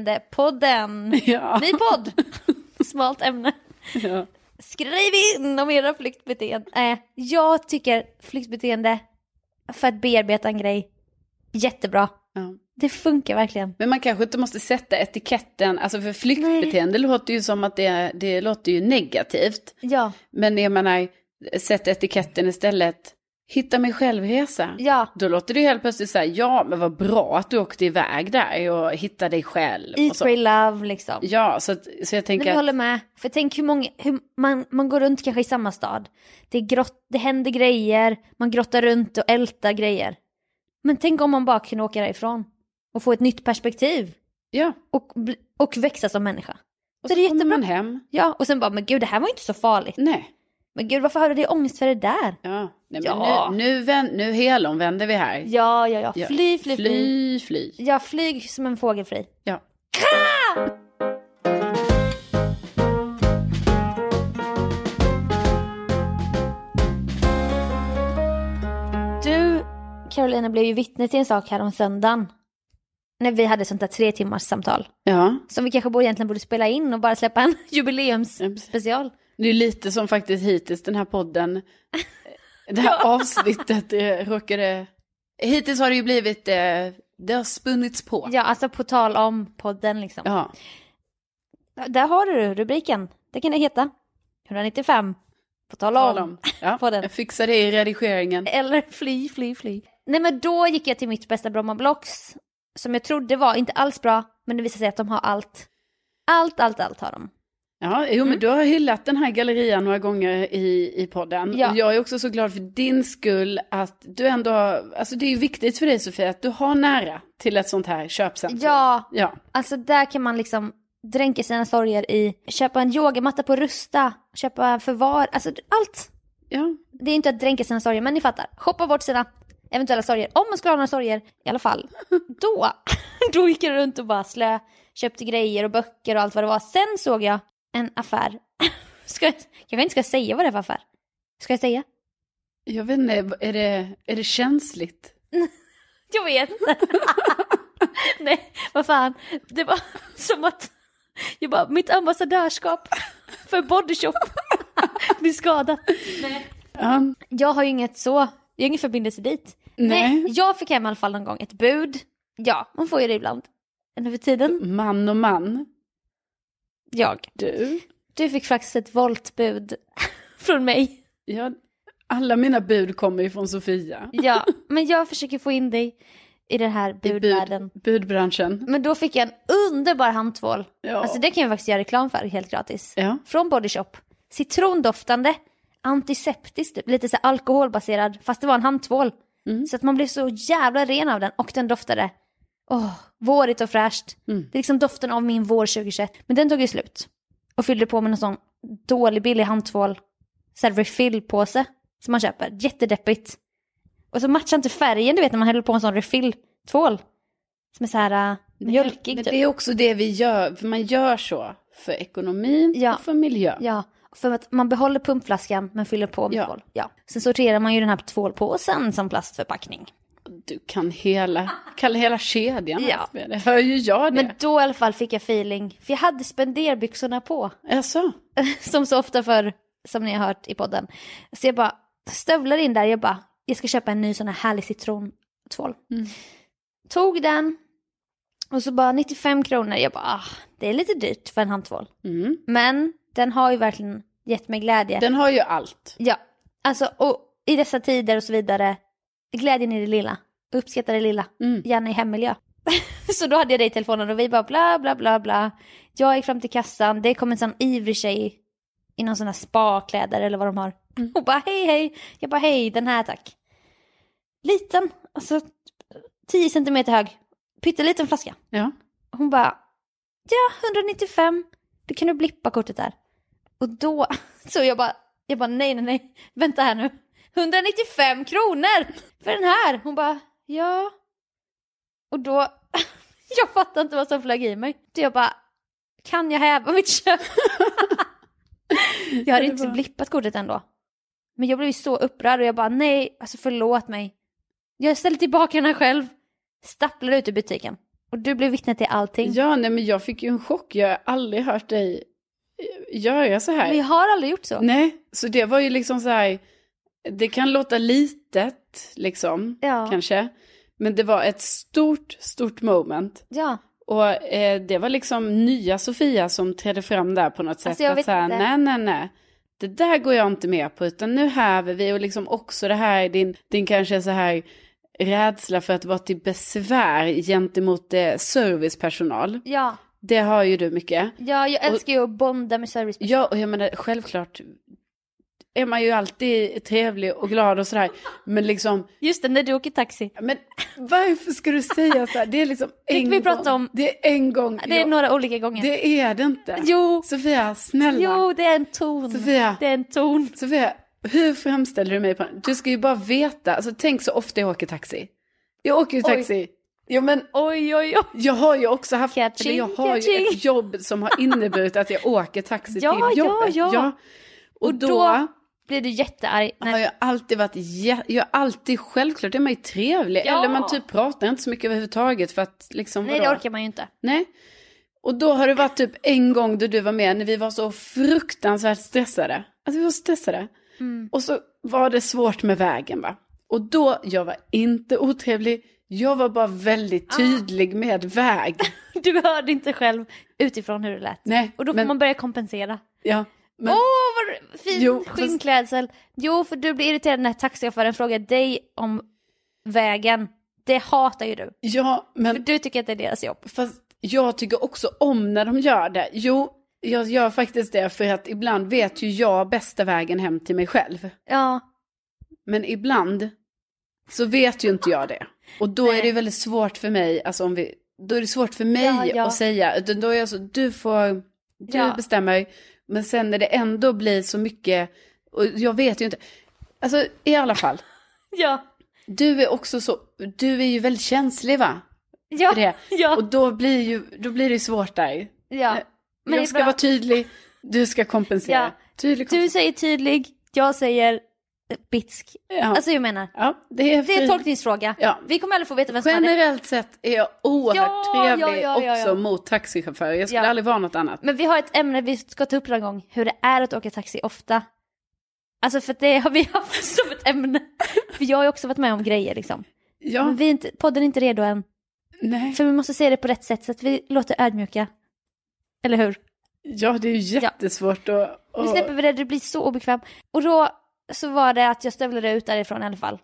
[SPEAKER 2] Flyktbeteende-podden.
[SPEAKER 1] Ja. *laughs*
[SPEAKER 2] Ny podd! Smalt ämne.
[SPEAKER 1] Ja.
[SPEAKER 2] Skriv in om era flyktbeteende. Eh, jag tycker flyktbeteende för att bearbeta en grej, jättebra.
[SPEAKER 1] Ja.
[SPEAKER 2] Det funkar verkligen.
[SPEAKER 1] Men man kanske inte måste sätta etiketten, alltså för flyktbeteende låter ju som att det, är- det låter ju negativt.
[SPEAKER 2] Ja,
[SPEAKER 1] Men jag menar, sätt etiketten istället, hitta mig själv-resa.
[SPEAKER 2] ja.
[SPEAKER 1] Då låter det ju helt plötsligt så här, ja men vad bra att du åkte iväg där och hittade dig själv. och
[SPEAKER 2] Eat,
[SPEAKER 1] så.
[SPEAKER 2] pray, love liksom.
[SPEAKER 1] Ja, så, att, så jag
[SPEAKER 2] Nej, men
[SPEAKER 1] tänker
[SPEAKER 2] jag
[SPEAKER 1] att,
[SPEAKER 2] håller med. För tänk hur många, hur, man, man går runt kanske i samma stad. Det, är grott, det händer grejer, man grottar runt och ältar grejer. Men tänk om man bara kunde åka därifrån och få ett nytt perspektiv
[SPEAKER 1] ja,
[SPEAKER 2] och, bli- och växa som människa.
[SPEAKER 1] och
[SPEAKER 2] det
[SPEAKER 1] så
[SPEAKER 2] är
[SPEAKER 1] kommer
[SPEAKER 2] jättebra.
[SPEAKER 1] man hem.
[SPEAKER 2] Ja, och sen bara, men gud det här var ju inte så farligt.
[SPEAKER 1] Nej,
[SPEAKER 2] Men gud varför hade du ångest för det där?
[SPEAKER 1] ja, Nej, men
[SPEAKER 2] Ja.
[SPEAKER 1] nu, nu, vän, nu helomvänder vi här.
[SPEAKER 2] Ja, ja,
[SPEAKER 1] Ja.
[SPEAKER 2] ja, fly, fly, fly.
[SPEAKER 1] fly. fly.
[SPEAKER 2] Ja, flyg som en fågel fri.
[SPEAKER 1] Ja.
[SPEAKER 2] Du, Carolina, blev ju vittne till en sak här om söndagen. När vi hade sånt där tre timmars samtal.
[SPEAKER 1] Ja,
[SPEAKER 2] Som vi kanske borde, egentligen borde spela in och bara släppa en *laughs* jubileumsspecial.
[SPEAKER 1] det är lite som faktiskt hittills den här
[SPEAKER 2] *laughs*
[SPEAKER 1] podden, det här avsnittet eh, råkade... Hittills har det ju blivit, eh, det har spunnits på.
[SPEAKER 2] Ja, alltså på tal om podden liksom.
[SPEAKER 1] Ja.
[SPEAKER 2] Där har du rubriken. Det kan det heta. 195. På tal
[SPEAKER 1] Tal
[SPEAKER 2] om.
[SPEAKER 1] om. Ja,
[SPEAKER 2] På den.
[SPEAKER 1] jag fixar det i redigeringen.
[SPEAKER 2] Eller fly, fly, fly. Nej men då gick jag till mitt bästa Bromma Blocks. Som jag trodde var inte alls bra, men det visade sig att de har allt. Allt, allt, allt har de.
[SPEAKER 1] Ja, jo,
[SPEAKER 2] Mm.
[SPEAKER 1] men du har hyllat den här gallerian några gånger i, i podden.
[SPEAKER 2] Ja.
[SPEAKER 1] Och jag är också så glad för din skull att du ändå, har- alltså det är ju viktigt för dig Sofia att du har nära till ett sånt här köpcentrum.
[SPEAKER 2] Ja,
[SPEAKER 1] Ja,
[SPEAKER 2] alltså där kan man liksom dränka sina sorger i, köpa en yogamatta på Rusta, köpa förvar, alltså allt.
[SPEAKER 1] ja.
[SPEAKER 2] Det är inte att dränka sina sorger, men ni fattar. Shoppa bort sina eventuella sorger, om man skulle ha några sorger i alla *laughs* fall. Då, då gick jag runt och bara slö, köpte grejer och böcker och allt vad det var. Sen såg jag en affär. *laughs* Ska jag, kanske inte ska säga vad det är för affär. Ska jag säga?
[SPEAKER 1] Jag vet inte, är det, är det känsligt?
[SPEAKER 2] Jag vet *laughs* inte. Nej, vad fan. Det var *laughs* som att jag bara, mitt ambassadörskap för *laughs* bodyshop blir skadat.
[SPEAKER 1] Ja.
[SPEAKER 2] Jag har ju inget så, jag har ingen förbindelse dit.
[SPEAKER 1] Nej.
[SPEAKER 2] jag fick hem i alla fall någon gång ett bud. Ja, man får ju det ibland. Nu för tiden.
[SPEAKER 1] Man och man,
[SPEAKER 2] Jag.
[SPEAKER 1] du.
[SPEAKER 2] Du fick faktiskt ett voltbud *laughs* från mig.
[SPEAKER 1] Ja, alla mina bud kommer ju från Sofia.
[SPEAKER 2] Ja, men jag försöker få in dig i den här
[SPEAKER 1] I
[SPEAKER 2] budvärlden.
[SPEAKER 1] budbranschen.
[SPEAKER 2] Men då fick jag en underbar handtvål.
[SPEAKER 1] Ja.
[SPEAKER 2] Alltså det kan jag faktiskt göra reklam för helt gratis.
[SPEAKER 1] Ja.
[SPEAKER 2] Från Body Shop. Citrondoftande, antiseptiskt, typ. lite så här alkoholbaserad, fast det var en handtvål.
[SPEAKER 1] Mm.
[SPEAKER 2] Så att man blev så jävla ren av den och den doftade, åh, vårigt och fräscht.
[SPEAKER 1] Mm.
[SPEAKER 2] Det är liksom doften av min vår 2021. Men den tog ju slut. Och fyllde på med någon sån dålig billig handtvål, så här refill-påse som man köper. Jättedeppigt. Och så matchar inte färgen, du vet när man häller på en sån refill-tvål. Som är så här äh, mjölkig
[SPEAKER 1] Men
[SPEAKER 2] typ.
[SPEAKER 1] det är också det vi gör, för man gör så för ekonomin
[SPEAKER 2] Ja.
[SPEAKER 1] och för miljön.
[SPEAKER 2] Ja, för att man behåller pumpflaskan men fyller på med
[SPEAKER 1] Ja.
[SPEAKER 2] tvål. Ja. Sen sorterar man ju den här tvålpåsen som plastförpackning.
[SPEAKER 1] Du kan hela, kalla hela kedjan.
[SPEAKER 2] Ja.
[SPEAKER 1] Ja. Det hör ju jag det.
[SPEAKER 2] Men då i alla fall fick jag feeling, för jag hade spenderbyxorna på. *laughs*
[SPEAKER 1] Jaså?
[SPEAKER 2] som så ofta för som ni har hört i podden. Så jag bara stövlar in där, jag bara, jag ska köpa en ny sån här härlig citrontvål.
[SPEAKER 1] Mm.
[SPEAKER 2] Tog den och så bara 95 kronor, jag bara, ah, det är lite dyrt för en handtvål.
[SPEAKER 1] Mm.
[SPEAKER 2] Men den har ju verkligen gett mig glädje.
[SPEAKER 1] Den har ju allt.
[SPEAKER 2] Ja, alltså och i dessa tider och så vidare. Glädjen i det lilla. Uppskatta det lilla.
[SPEAKER 1] Mm.
[SPEAKER 2] Gärna i hemmiljö. *laughs* så då hade jag dig i telefonen och vi bara bla bla bla bla. Jag gick fram till kassan, det kom en sån ivrig tjej i någon sån här spakläder eller vad de har.
[SPEAKER 1] Mm.
[SPEAKER 2] Hon bara hej hej. Jag bara hej, den här tack. Liten, alltså 10 centimeter hög. Pytteliten flaska.
[SPEAKER 1] Ja.
[SPEAKER 2] Hon bara, ja 195, då kan du blippa kortet där. Och då, *laughs* så jag bara, jag bara nej nej nej, vänta här nu. 195 kronor för den här! Hon bara, ja. Och då, *laughs* jag fattar inte vad som flög i mig. Så jag bara, kan jag häva mitt köp? *laughs* jag hade
[SPEAKER 1] Det
[SPEAKER 2] inte
[SPEAKER 1] var-
[SPEAKER 2] blippat kortet ändå. Men jag blev ju så upprörd och jag bara, nej, alltså förlåt mig. Jag ställde tillbaka den här själv. Stapplade ut ur butiken. Och du blev vittne till allting.
[SPEAKER 1] Ja, nej men jag fick ju en chock. Jag har aldrig hört dig eh, göra så här.
[SPEAKER 2] Men jag har aldrig gjort så.
[SPEAKER 1] Nej, så det var ju liksom så här, det kan låta litet liksom,
[SPEAKER 2] Ja.
[SPEAKER 1] kanske. Men det var ett stort, stort moment.
[SPEAKER 2] Ja.
[SPEAKER 1] Och eh, det var liksom nya Sofia som trädde fram där på något sätt.
[SPEAKER 2] Alltså, jag
[SPEAKER 1] att
[SPEAKER 2] vet
[SPEAKER 1] så här,
[SPEAKER 2] inte.
[SPEAKER 1] nej, nej, nej. Det där går jag inte med på, utan nu häver vi och liksom också det här, din, din kanske så här rädsla för att vara till besvär gentemot eh, servicepersonal.
[SPEAKER 2] Ja.
[SPEAKER 1] Det har ju du mycket.
[SPEAKER 2] ja, jag älskar ju att bonda med service.
[SPEAKER 1] Ja, och jag menar självklart är man ju alltid trevlig och glad och sådär. Men liksom,
[SPEAKER 2] Just det, när du åker taxi.
[SPEAKER 1] men varför ska du säga så här? Det är liksom en
[SPEAKER 2] vi
[SPEAKER 1] gång.
[SPEAKER 2] prata om-
[SPEAKER 1] Det är en gång.
[SPEAKER 2] Det är
[SPEAKER 1] Ja,
[SPEAKER 2] några olika gånger.
[SPEAKER 1] det är det inte.
[SPEAKER 2] Jo,
[SPEAKER 1] Sofia, snälla.
[SPEAKER 2] jo, det är en ton.
[SPEAKER 1] Sofia.
[SPEAKER 2] Det är en ton.
[SPEAKER 1] Sofia, hur framställer du mig? På... Du ska ju bara veta. Alltså, tänk så ofta jag åker taxi. Jag åker ju
[SPEAKER 2] Oj.
[SPEAKER 1] taxi. Jo, men
[SPEAKER 2] Oj, oj, oj.
[SPEAKER 1] jag har ju också haft,
[SPEAKER 2] Catching,
[SPEAKER 1] eller jag har ju
[SPEAKER 2] catching.
[SPEAKER 1] ett jobb som har inneburit att jag åker
[SPEAKER 2] *laughs*
[SPEAKER 1] taxi
[SPEAKER 2] Ja,
[SPEAKER 1] till
[SPEAKER 2] ja,
[SPEAKER 1] jobbet.
[SPEAKER 2] ja.
[SPEAKER 1] Och,
[SPEAKER 2] Och då-
[SPEAKER 1] då
[SPEAKER 2] Blir du jättearg?
[SPEAKER 1] har
[SPEAKER 2] Nej.
[SPEAKER 1] jag alltid varit, jä- jag har alltid, självklart är man ju trevlig,
[SPEAKER 2] Ja.
[SPEAKER 1] eller man typ pratar inte så mycket överhuvudtaget för att liksom,
[SPEAKER 2] Nej,
[SPEAKER 1] vadå?
[SPEAKER 2] det orkar man ju inte.
[SPEAKER 1] Nej. Och då har det varit typ en gång då du var med när vi var så fruktansvärt stressade. Alltså vi var stressade.
[SPEAKER 2] Mm.
[SPEAKER 1] Och så var det svårt med vägen va. Och då, jag var inte otrevlig, jag var bara
[SPEAKER 2] Ah.
[SPEAKER 1] väldigt tydlig med
[SPEAKER 2] *laughs*
[SPEAKER 1] väg.
[SPEAKER 2] Du hörde inte själv utifrån hur det lät.
[SPEAKER 1] Nej,
[SPEAKER 2] Och då får
[SPEAKER 1] men-
[SPEAKER 2] man börja kompensera.
[SPEAKER 1] Ja, men
[SPEAKER 2] Åh, vad fin
[SPEAKER 1] Jo, fast-
[SPEAKER 2] skinnklädsel. Jo, för du blir irriterad när taxichauffören frågar dig om vägen. Det hatar ju du.
[SPEAKER 1] ja,
[SPEAKER 2] För
[SPEAKER 1] men
[SPEAKER 2] du tycker att det är deras jobb.
[SPEAKER 1] fast jag tycker också om när de gör det. Jo, jag gör faktiskt det för att ibland vet ju jag bästa vägen hem till mig själv.
[SPEAKER 2] Ja,
[SPEAKER 1] Men ibland så vet ju inte jag det. Och då är
[SPEAKER 2] Nej.
[SPEAKER 1] det ju väldigt svårt för mig, alltså om vi, då är det svårt för mig
[SPEAKER 2] Ja, ja.
[SPEAKER 1] att säga, utan då är jag så, du får, du
[SPEAKER 2] Ja.
[SPEAKER 1] bestämmer. Men sen när det ändå blir så mycket, och jag vet ju inte. Alltså i alla fall,
[SPEAKER 2] ja,
[SPEAKER 1] du är också så, du är ju väldigt känslig va?
[SPEAKER 2] ja,
[SPEAKER 1] För det.
[SPEAKER 2] ja.
[SPEAKER 1] Och då blir, ju, då blir det ju svårt där.
[SPEAKER 2] ja. Men det är
[SPEAKER 1] Eh, jag ska
[SPEAKER 2] bra.
[SPEAKER 1] vara tydlig, du ska kompensera.
[SPEAKER 2] Ja.
[SPEAKER 1] Tydlig
[SPEAKER 2] Du
[SPEAKER 1] kompensera.
[SPEAKER 2] säger tydlig, jag säger eh, bitsk.
[SPEAKER 1] Ja.
[SPEAKER 2] Alltså jag menar,
[SPEAKER 1] ja, det är,
[SPEAKER 2] det är en
[SPEAKER 1] fri-
[SPEAKER 2] tolkningsfråga.
[SPEAKER 1] Ja.
[SPEAKER 2] Vi kommer aldrig få veta vem som hade...
[SPEAKER 1] Generellt sett är jag oerhört
[SPEAKER 2] Alltså, Ja,
[SPEAKER 1] trevlig
[SPEAKER 2] ja, ja, ja,
[SPEAKER 1] också
[SPEAKER 2] ja.
[SPEAKER 1] mot taxichaufförer. Jag skulle
[SPEAKER 2] Ja.
[SPEAKER 1] aldrig vara något annat.
[SPEAKER 2] Men vi har ett ämne vi ska ta upp någon gång, hur det är att åka taxi ofta. Alltså för det har vi *laughs* haft som ett ämne. För jag har ju också varit med om grejer liksom.
[SPEAKER 1] Ja,
[SPEAKER 2] Men vi är inte, podden är inte redo än.
[SPEAKER 1] nej.
[SPEAKER 2] För vi måste se det på rätt sätt så att vi låter ödmjuka. Eller hur?
[SPEAKER 1] ja, det är ju jättesvårt att...
[SPEAKER 2] Nu
[SPEAKER 1] att...
[SPEAKER 2] släpper vi det, det blir så obekvämt. Och då så var det att jag stövlade ut därifrån i alla fall.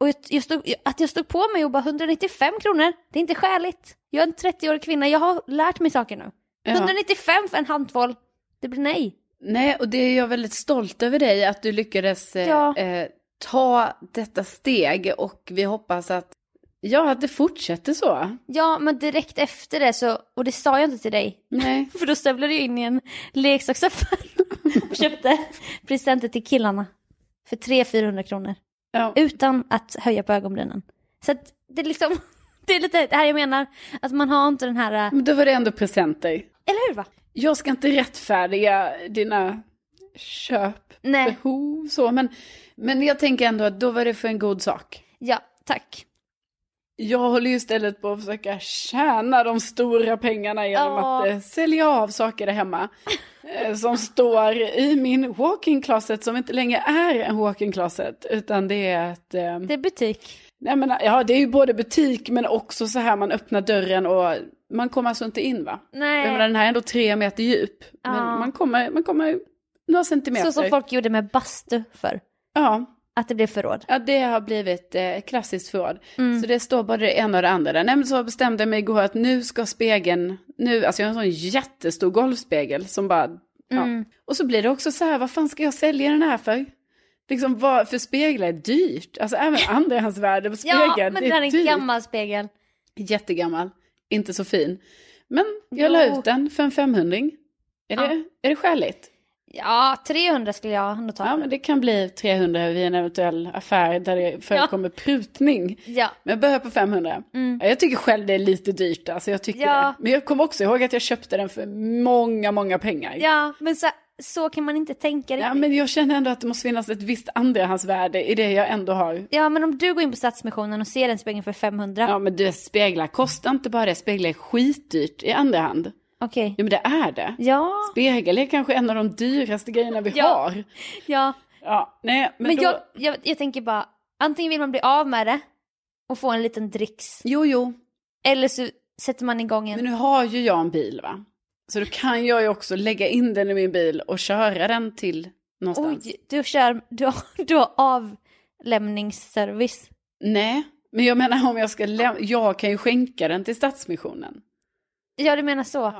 [SPEAKER 2] Och jag, jag stod, att jag stod på mig och bara 195 kronor, det är inte skäligt. Jag är en 30-årig kvinna, jag har lärt mig saker nu.
[SPEAKER 1] Ja.
[SPEAKER 2] 195 för en handboll, det blir nej.
[SPEAKER 1] Nej, och det är jag väldigt stolt över dig, att du lyckades eh,
[SPEAKER 2] Ja.
[SPEAKER 1] eh, ta detta steg och vi hoppas att, ja, att det fortsätter så.
[SPEAKER 2] Ja, men direkt efter det så, och det sa jag inte till dig,
[SPEAKER 1] Nej,
[SPEAKER 2] för då stövlade jag in i en leksaksaffär *laughs* och köpte presenter till killarna för 300-400 kronor.
[SPEAKER 1] ja.
[SPEAKER 2] utan att höja på ögonbrynen. Så att det är liksom, *laughs* det är lite det här jag menar, att man har inte den här, äh,
[SPEAKER 1] Men då var det ändå presenter.
[SPEAKER 2] eller hur va?
[SPEAKER 1] Jag ska inte rättfärdiga dina köpbehov
[SPEAKER 2] Nej,
[SPEAKER 1] så, men, men jag tänker ändå att då var det för en god sak.
[SPEAKER 2] ja, tack.
[SPEAKER 1] Jag håller ju istället på att försöka tjäna de stora pengarna genom
[SPEAKER 2] Ja.
[SPEAKER 1] att eh, sälja av saker där hemma. *laughs* eh, som står i min walk-in closet som inte längre är en walk-in closet. Utan det är ett... Eh,
[SPEAKER 2] Det är butik.
[SPEAKER 1] nej men, ja, det är ju både butik men också så här man öppnar dörren och man kommer alltså inte in va? Jag menar,
[SPEAKER 2] Nej,
[SPEAKER 1] den här är ändå tre meter djup. Men
[SPEAKER 2] Ja.
[SPEAKER 1] man kommer, man kommer några centimeter.
[SPEAKER 2] så som folk gjorde med bastu för.
[SPEAKER 1] Ja,
[SPEAKER 2] Att det blev förråd. Mm,
[SPEAKER 1] Ja, det har blivit eh, klassiskt förråd. Så det står både det ena och det andra. Nej, men så bestämde jag mig igår att nu ska spegeln, nu, alltså jag har en sån jättestor golvspegel som bara, ja.
[SPEAKER 2] mm.
[SPEAKER 1] Och så blir det också så här, vad fan ska jag sälja den här för? Liksom, vad, för speglar är dyrt, alltså
[SPEAKER 2] *laughs*
[SPEAKER 1] även andrahandsvärde på spegeln,
[SPEAKER 2] Ja, men det här är en
[SPEAKER 1] dyrt.
[SPEAKER 2] gammal spegel.
[SPEAKER 1] Jättegammal, inte så fin. Men jag la
[SPEAKER 2] Jo.
[SPEAKER 1] ut den för en femhundring. Är,
[SPEAKER 2] Ja.
[SPEAKER 1] det, är det skäligt?
[SPEAKER 2] Ja, 300 skulle jag ändå ta.
[SPEAKER 1] Ja, men det kan bli 300 vid en eventuell affär där det förekommer prutning.
[SPEAKER 2] ja.
[SPEAKER 1] Men jag börjar på 500. Ja, Jag tycker själv det är lite dyrt, alltså jag tycker
[SPEAKER 2] Mm. Ja.
[SPEAKER 1] det. Men jag kommer också ihåg att jag köpte den för många, många pengar.
[SPEAKER 2] ja men så, så kan man inte tänka riktigt.
[SPEAKER 1] Ja, men jag känner ändå att det måste finnas ett visst andrahandsvärde i det jag ändå har.
[SPEAKER 2] Ja, men om du går in på Stadsmissionen och ser den spegeln för 500.
[SPEAKER 1] Ja, men du, speglar kostar inte bara det, speglar är skitdyrt i andra hand.
[SPEAKER 2] Okej.
[SPEAKER 1] Ja, men det är det.
[SPEAKER 2] Ja,
[SPEAKER 1] Spegel är kanske en av de dyraste grejerna vi
[SPEAKER 2] Ja.
[SPEAKER 1] har.
[SPEAKER 2] ja.
[SPEAKER 1] Ja, nej, men,
[SPEAKER 2] Men,
[SPEAKER 1] då...
[SPEAKER 2] jag, jag, jag tänker bara, antingen vill man bli av med det och få en liten dricks.
[SPEAKER 1] Jo, jo,
[SPEAKER 2] Eller så sätter man igång en...
[SPEAKER 1] Men nu har ju jag en bil va? Så då kan jag ju också lägga in den i min bil och köra den till någonstans.
[SPEAKER 2] Oj, du kör, du har, *laughs* du har avlämningsservice.
[SPEAKER 1] Nej, men jag menar om jag ska lämna, jag kan ju skänka den till Stadsmissionen.
[SPEAKER 2] Ja, du menar så.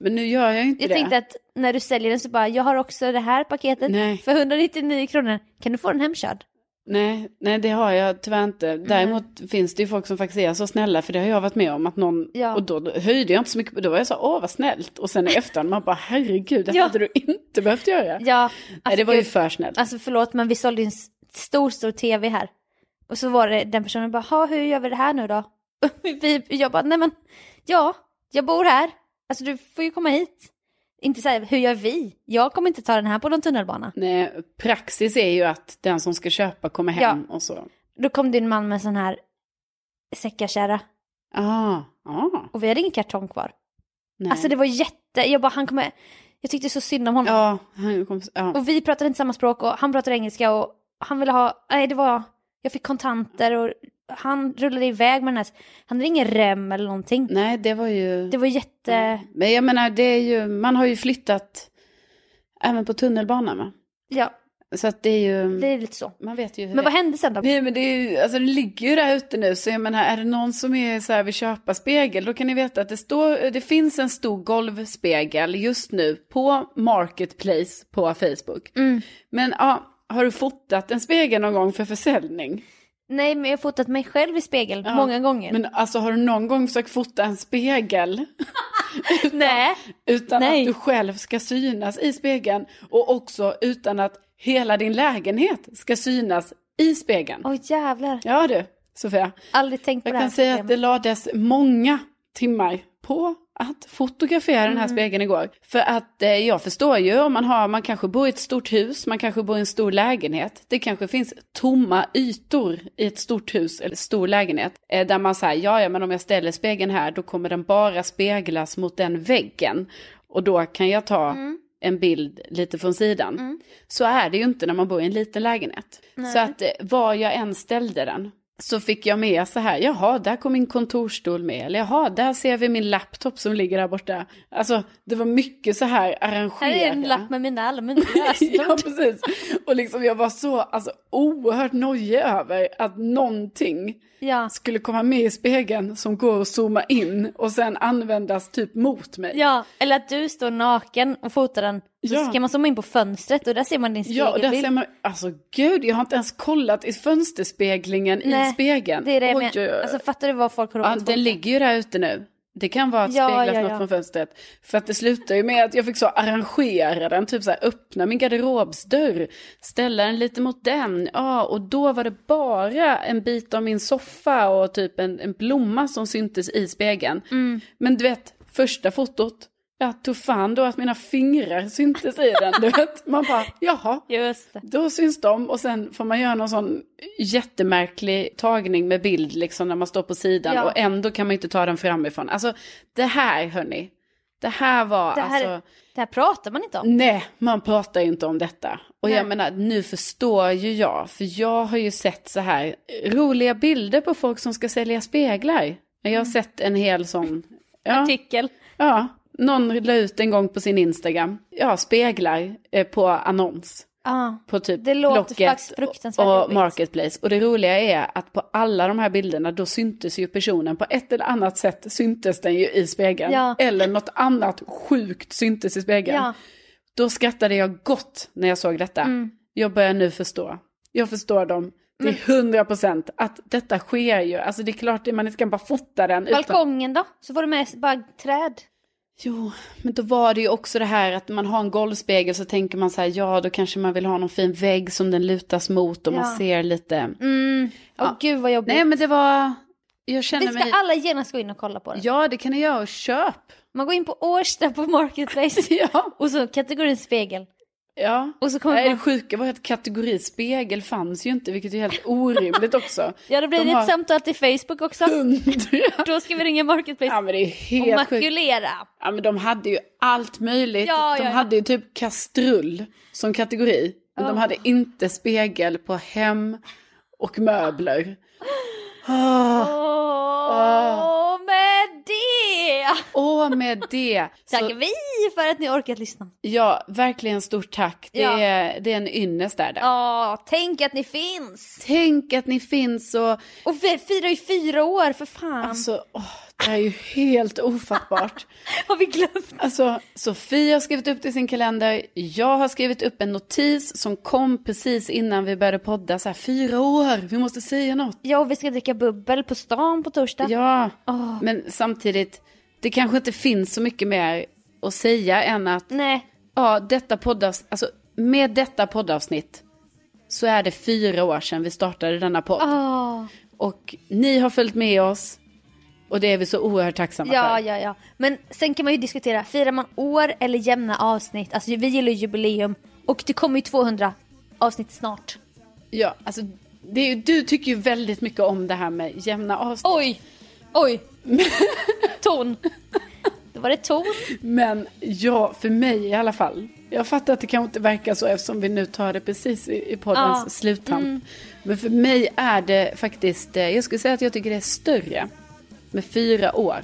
[SPEAKER 1] Men nu gör jag ju inte
[SPEAKER 2] jag
[SPEAKER 1] det.
[SPEAKER 2] tänkte att när du säljer den så bara, jag har också det här paketet
[SPEAKER 1] Nej.
[SPEAKER 2] för 199 kronor. Kan du få den hemkörd?
[SPEAKER 1] Nej, nej, det har jag tyvärr inte.
[SPEAKER 2] Mm.
[SPEAKER 1] Däremot finns det ju folk som faktiskt är så snälla, för det har jag varit med om att någon,
[SPEAKER 2] Ja.
[SPEAKER 1] och då höjde jag inte så mycket, då var jag så, åh vad snällt. Och sen i efterhand, man bara, herregud, det
[SPEAKER 2] Ja.
[SPEAKER 1] hade du inte behövt göra.
[SPEAKER 2] Ja,
[SPEAKER 1] nej,
[SPEAKER 2] alltså
[SPEAKER 1] det var ju
[SPEAKER 2] gud.
[SPEAKER 1] för snällt.
[SPEAKER 2] Alltså förlåt men vi sålde ju en s- stor, stor tv här. Och så var det den personen bara, "Ha, hur gör vi det här nu då? *laughs* vi, jag bara, nej men, ja, jag bor här. Alltså du får ju komma hit. Inte säga, hur gör vi? Jag kommer inte ta den här på någon tunnelbana.
[SPEAKER 1] Nej, praxis är ju att den som ska köpa kommer hem och så.
[SPEAKER 2] Då kom det en man med en sån här säckarkärra
[SPEAKER 1] Ah, ah.
[SPEAKER 2] och vi hade ingen kartong kvar.
[SPEAKER 1] Nej.
[SPEAKER 2] Alltså det var jätte, jag bara, han kommer, jag tyckte så synd om honom.
[SPEAKER 1] Ja, han kom... Ja.
[SPEAKER 2] Och vi pratade inte samma språk och han pratade engelska och han ville ha, nej det var, jag fick kontanter och han rullade iväg med den här, han hade ingen rem eller någonting.
[SPEAKER 1] Nej, det var ju...
[SPEAKER 2] Det var jätte,
[SPEAKER 1] Men jag menar, det är ju... man har ju flyttat även på tunnelbanan. Va?
[SPEAKER 2] ja,
[SPEAKER 1] Så att det är ju...
[SPEAKER 2] det är lite så.
[SPEAKER 1] Man vet ju hur
[SPEAKER 2] Men vad
[SPEAKER 1] det
[SPEAKER 2] hände sen då?
[SPEAKER 1] Nej, men det, är ju... alltså, det ligger ju där ute nu. Så jag menar, är det någon som är så här vill köpa spegel, då kan ni veta att det, står... det finns en stor golvspegel just nu på Marketplace på Facebook.
[SPEAKER 2] Mm.
[SPEAKER 1] Men ja, har du fotat en spegel någon gång för försäljning?
[SPEAKER 2] Nej, men jag har fotat mig själv i spegel många gånger.
[SPEAKER 1] Men alltså har du någon gång försökt fota en spegel?
[SPEAKER 2] *laughs* Nej,
[SPEAKER 1] Utan
[SPEAKER 2] Nej.
[SPEAKER 1] att du själv ska synas i spegeln och också utan att hela din lägenhet ska synas i spegeln.
[SPEAKER 2] åh jävlar,
[SPEAKER 1] Ja du, Sofia.
[SPEAKER 2] aldrig tänkt på
[SPEAKER 1] Jag
[SPEAKER 2] det här.
[SPEAKER 1] kan säga att det
[SPEAKER 2] problemet.
[SPEAKER 1] lades många timmar på att fotografera den här
[SPEAKER 2] Mm.
[SPEAKER 1] spegeln igår. För att eh, jag förstår ju om man har, man kanske bor i ett stort hus, man kanske bor i en stor lägenhet. Det kanske finns tomma ytor i ett stort hus eller stor lägenhet. Eh, där man säger, ja ja men om jag ställer spegeln här då kommer den bara speglas mot den väggen. Och då kan jag ta
[SPEAKER 2] Mm.
[SPEAKER 1] en bild lite från sidan. Så är det ju inte när man bor i en liten lägenhet. Så att eh, var jag än ställde den så fick jag med så här, jaha, där kom min kontorstol med, eller jaha, där ser vi min laptop som ligger där borta. Alltså, det var mycket så här
[SPEAKER 2] Här
[SPEAKER 1] arrangerat.
[SPEAKER 2] är en lapp med mina allmänna
[SPEAKER 1] *laughs* Ja,
[SPEAKER 2] lösenord.
[SPEAKER 1] precis. Och liksom jag var så alltså, oerhört nojig över att någonting
[SPEAKER 2] ja.
[SPEAKER 1] skulle komma med i spegeln som går att zooma in och sen användas typ mot mig.
[SPEAKER 2] ja, eller att du står naken och fotar den. Så
[SPEAKER 1] Ja.
[SPEAKER 2] kan man zooma in på fönstret och där ser man din
[SPEAKER 1] Ja, och där
[SPEAKER 2] spegelbild.
[SPEAKER 1] ser man, alltså gud, jag har inte ens kollat i fönsterspeglingen i
[SPEAKER 2] Nej,
[SPEAKER 1] spegeln.
[SPEAKER 2] Det är det jag
[SPEAKER 1] Oj, oj,
[SPEAKER 2] menar.
[SPEAKER 1] oj.
[SPEAKER 2] Alltså fattar du vad folk har
[SPEAKER 1] Ja,
[SPEAKER 2] råkat
[SPEAKER 1] den ligger ju där ute nu. Det kan vara att
[SPEAKER 2] Ja,
[SPEAKER 1] speglas
[SPEAKER 2] ja,
[SPEAKER 1] något
[SPEAKER 2] ja.
[SPEAKER 1] från fönstret. För att det slutar ju med att jag fick så arrangera den, typ så här öppna min garderobsdörr, ställa den lite mot den. Ja, och då var det bara en bit av min soffa och typ en, en blomma som syntes i spegeln.
[SPEAKER 2] Mm.
[SPEAKER 1] Men du vet, första fotot, jag tog fan då att mina fingrar syntes i den, du vet. Man bara, jaha.
[SPEAKER 2] Just det.
[SPEAKER 1] Då syns de och sen får man göra någon sån jättemärklig tagning med bild liksom när man står på sidan
[SPEAKER 2] Ja.
[SPEAKER 1] och ändå kan man inte ta den framifrån. Alltså det här hörni, det här var
[SPEAKER 2] Det här,
[SPEAKER 1] alltså, Mm.
[SPEAKER 2] det här pratar man inte om.
[SPEAKER 1] nej man pratar ju inte om detta. Och
[SPEAKER 2] Nej.
[SPEAKER 1] jag menar nu förstår ju jag, för jag har ju sett så här roliga bilder på folk som ska sälja speglar. Men
[SPEAKER 2] Mm.
[SPEAKER 1] jag har sett en hel sån, ja.
[SPEAKER 2] Artikel.
[SPEAKER 1] Ja, någon la ut en gång på sin Instagram. Ja, speglar eh, på annons.
[SPEAKER 2] Ja.
[SPEAKER 1] på typ
[SPEAKER 2] Det låter
[SPEAKER 1] Blocket
[SPEAKER 2] faktiskt fruktansvärt
[SPEAKER 1] och
[SPEAKER 2] jobbigt.
[SPEAKER 1] Marketplace. Och det roliga är att på alla de här bilderna då syntes ju personen på ett eller annat sätt syntes den ju i spegeln.
[SPEAKER 2] Ja.
[SPEAKER 1] Eller något annat sjukt syntes i spegeln.
[SPEAKER 2] ja. Mm.
[SPEAKER 1] Då skrattade jag gott när jag såg detta. Jag börjar nu förstå. Jag förstår dem till hundra procent att detta sker ju. Alltså det är klart det- man inte kan bara fota den. Utan...
[SPEAKER 2] Balkongen då? Så får du med bara träd.
[SPEAKER 1] Jo, men då var det ju också det här att man har en golvspegel så tänker man så här, ja då kanske man vill ha någon fin vägg som den lutas mot och
[SPEAKER 2] Ja.
[SPEAKER 1] man ser lite.
[SPEAKER 2] Mm. Åh
[SPEAKER 1] Ja.
[SPEAKER 2] gud vad jobbigt.
[SPEAKER 1] Nej men det var, jag
[SPEAKER 2] vi
[SPEAKER 1] känner
[SPEAKER 2] ska
[SPEAKER 1] mig,
[SPEAKER 2] alla genast gå in och kolla på det.
[SPEAKER 1] ja det kan jag göra och
[SPEAKER 2] *laughs*
[SPEAKER 1] köp.
[SPEAKER 2] Man går in på Årsta på
[SPEAKER 1] *laughs*
[SPEAKER 2] Marketplace
[SPEAKER 1] Ja,
[SPEAKER 2] och så kategorin spegel.
[SPEAKER 1] ja.
[SPEAKER 2] Och så kommer
[SPEAKER 1] Nej,
[SPEAKER 2] man...
[SPEAKER 1] det sjuka var att kategori spegel fanns ju inte, vilket är helt orimligt också.
[SPEAKER 2] *laughs* Ja då blir
[SPEAKER 1] De
[SPEAKER 2] det
[SPEAKER 1] har-
[SPEAKER 2] ett samtal till Facebook också. *laughs*
[SPEAKER 1] Hundra.
[SPEAKER 2] Då ska vi ringa Marketplace
[SPEAKER 1] Ja men det är
[SPEAKER 2] och
[SPEAKER 1] helt sjukt.
[SPEAKER 2] makulera.
[SPEAKER 1] Ja men de hade ju allt möjligt.
[SPEAKER 2] Ja,
[SPEAKER 1] de
[SPEAKER 2] ja, ja.
[SPEAKER 1] hade ju typ kastrull som kategori. Men de
[SPEAKER 2] Ja.
[SPEAKER 1] hade inte spegel på hem och
[SPEAKER 2] *laughs*
[SPEAKER 1] möbler. Åh,
[SPEAKER 2] Åh,
[SPEAKER 1] Ah.
[SPEAKER 2] med det
[SPEAKER 1] åh, med det.
[SPEAKER 2] tackar vi för att ni orkat lyssna.
[SPEAKER 1] ja, verkligen stort tack. Det,
[SPEAKER 2] Ja.
[SPEAKER 1] är, det är en ynnest där. där.
[SPEAKER 2] Ja, tänk att ni finns.
[SPEAKER 1] Tänk att ni finns och
[SPEAKER 2] Och vi firar ju fyra år för fan.
[SPEAKER 1] alltså, åh, det här är ju helt
[SPEAKER 2] *laughs*
[SPEAKER 1] ofattbart.
[SPEAKER 2] Har vi glömt?
[SPEAKER 1] Alltså, Sofia har skrivit upp det i sin kalender. Jag har skrivit upp en notis som kom precis innan vi började podda. Så här, fyra år, vi måste säga något.
[SPEAKER 2] Ja, och vi ska dricka bubbel på stan på torsdag.
[SPEAKER 1] Ja,
[SPEAKER 2] Åh.
[SPEAKER 1] men samtidigt, det kanske inte finns så mycket mer att säga än att
[SPEAKER 2] Nej,
[SPEAKER 1] ja, detta poddavs- alltså, med detta poddavsnitt så är det fyra år sedan vi startade denna podd.
[SPEAKER 2] åh.
[SPEAKER 1] Och ni har följt med oss och det är vi så oerhört tacksamma
[SPEAKER 2] Ja,
[SPEAKER 1] för.
[SPEAKER 2] ja, ja. Men sen kan man ju diskutera, firar man år eller jämna avsnitt? Alltså vi gillar ju jubileum och det kommer ju 200 avsnitt snart.
[SPEAKER 1] Ja, alltså, det är, ju- du tycker ju väldigt mycket om det här med jämna avsnitt.
[SPEAKER 2] Oj! *laughs* Oj! ton! Då var det ton.
[SPEAKER 1] Men ja, för mig i alla fall. Jag fattar att det kanske inte verkar så eftersom vi nu tar det precis i, i poddens
[SPEAKER 2] Ja, Mm.
[SPEAKER 1] sluttamp. Men för mig är det faktiskt, eh, jag skulle säga att jag tycker det är större med fyra år.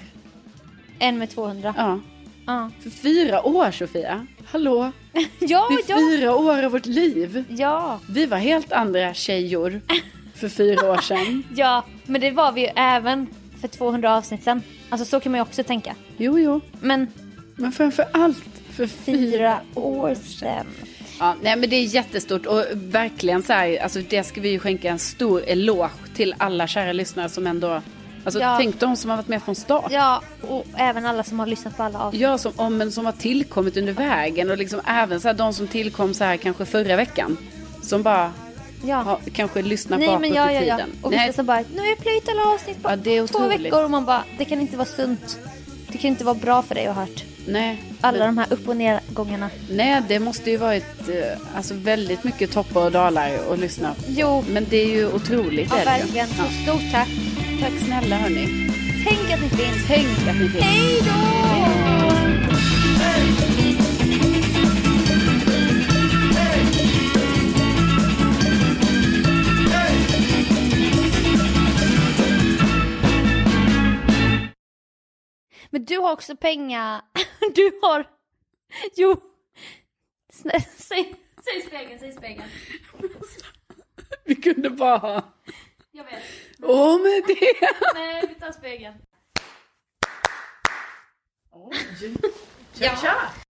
[SPEAKER 2] En med 200.
[SPEAKER 1] Ja.
[SPEAKER 2] Ja,
[SPEAKER 1] För fyra år Sofia, hallå,
[SPEAKER 2] ja,
[SPEAKER 1] det är
[SPEAKER 2] ja.
[SPEAKER 1] fyra år av vårt liv.
[SPEAKER 2] ja.
[SPEAKER 1] Vi var helt andra tjejor för fyra år
[SPEAKER 2] *laughs*
[SPEAKER 1] sedan.
[SPEAKER 2] Ja, men det var vi ju även för 200 avsnitt sen. Alltså så kan man ju också tänka.
[SPEAKER 1] Jo, jo,
[SPEAKER 2] Men
[SPEAKER 1] men framför allt för fyra
[SPEAKER 2] fyra år sedan.
[SPEAKER 1] Ja, nej men det är jättestort och verkligen så här, alltså det ska vi ju skänka en stor eloge till alla kära lyssnare som ändå, alltså
[SPEAKER 2] Ja.
[SPEAKER 1] tänk de som har varit med från start. Ja.
[SPEAKER 2] Ja, och även alla som har lyssnat på alla avsnitt.
[SPEAKER 1] som, ja, men som har tillkommit under vägen och liksom även så här, de som tillkom så här kanske förra veckan. Som bara
[SPEAKER 2] Ja.
[SPEAKER 1] ja, kanske lyssnar
[SPEAKER 2] Nej
[SPEAKER 1] bakåt
[SPEAKER 2] men ja,
[SPEAKER 1] i
[SPEAKER 2] ja,
[SPEAKER 1] typ tiden.
[SPEAKER 2] ja. Och
[SPEAKER 1] Nej,
[SPEAKER 2] vissa som bara, nu har jag plöjt alla avsnitt på
[SPEAKER 1] Ja, det är
[SPEAKER 2] två
[SPEAKER 1] otroligt.
[SPEAKER 2] veckor och man bara, det kan inte vara sunt. Det kan inte vara bra för dig att ha hört.
[SPEAKER 1] nej,
[SPEAKER 2] alltså, Alla
[SPEAKER 1] men-
[SPEAKER 2] de här upp och nedgångarna.
[SPEAKER 1] nej, det måste ju varit eh, alltså, väldigt mycket toppar och dalar att lyssna på.
[SPEAKER 2] Jo,
[SPEAKER 1] Men det är ju otroligt.
[SPEAKER 2] ja,
[SPEAKER 1] är det ju.
[SPEAKER 2] verkligen. Så
[SPEAKER 1] Ja.
[SPEAKER 2] stort tack.
[SPEAKER 1] Tack snälla hörni.
[SPEAKER 2] Tänk att ni finns.
[SPEAKER 1] Tänk att
[SPEAKER 2] *laughs*
[SPEAKER 1] ni fick.
[SPEAKER 2] Hej då! Men du har också pengar. *laughs* Du har... Jo. Snä- Säg, säg spegeln, säg spegeln.
[SPEAKER 1] Vi kunde bara ha
[SPEAKER 2] Jag vet.
[SPEAKER 1] Åh, med det!
[SPEAKER 2] Nej,
[SPEAKER 1] 哦
[SPEAKER 2] vi tar spegeln.
[SPEAKER 1] Ja.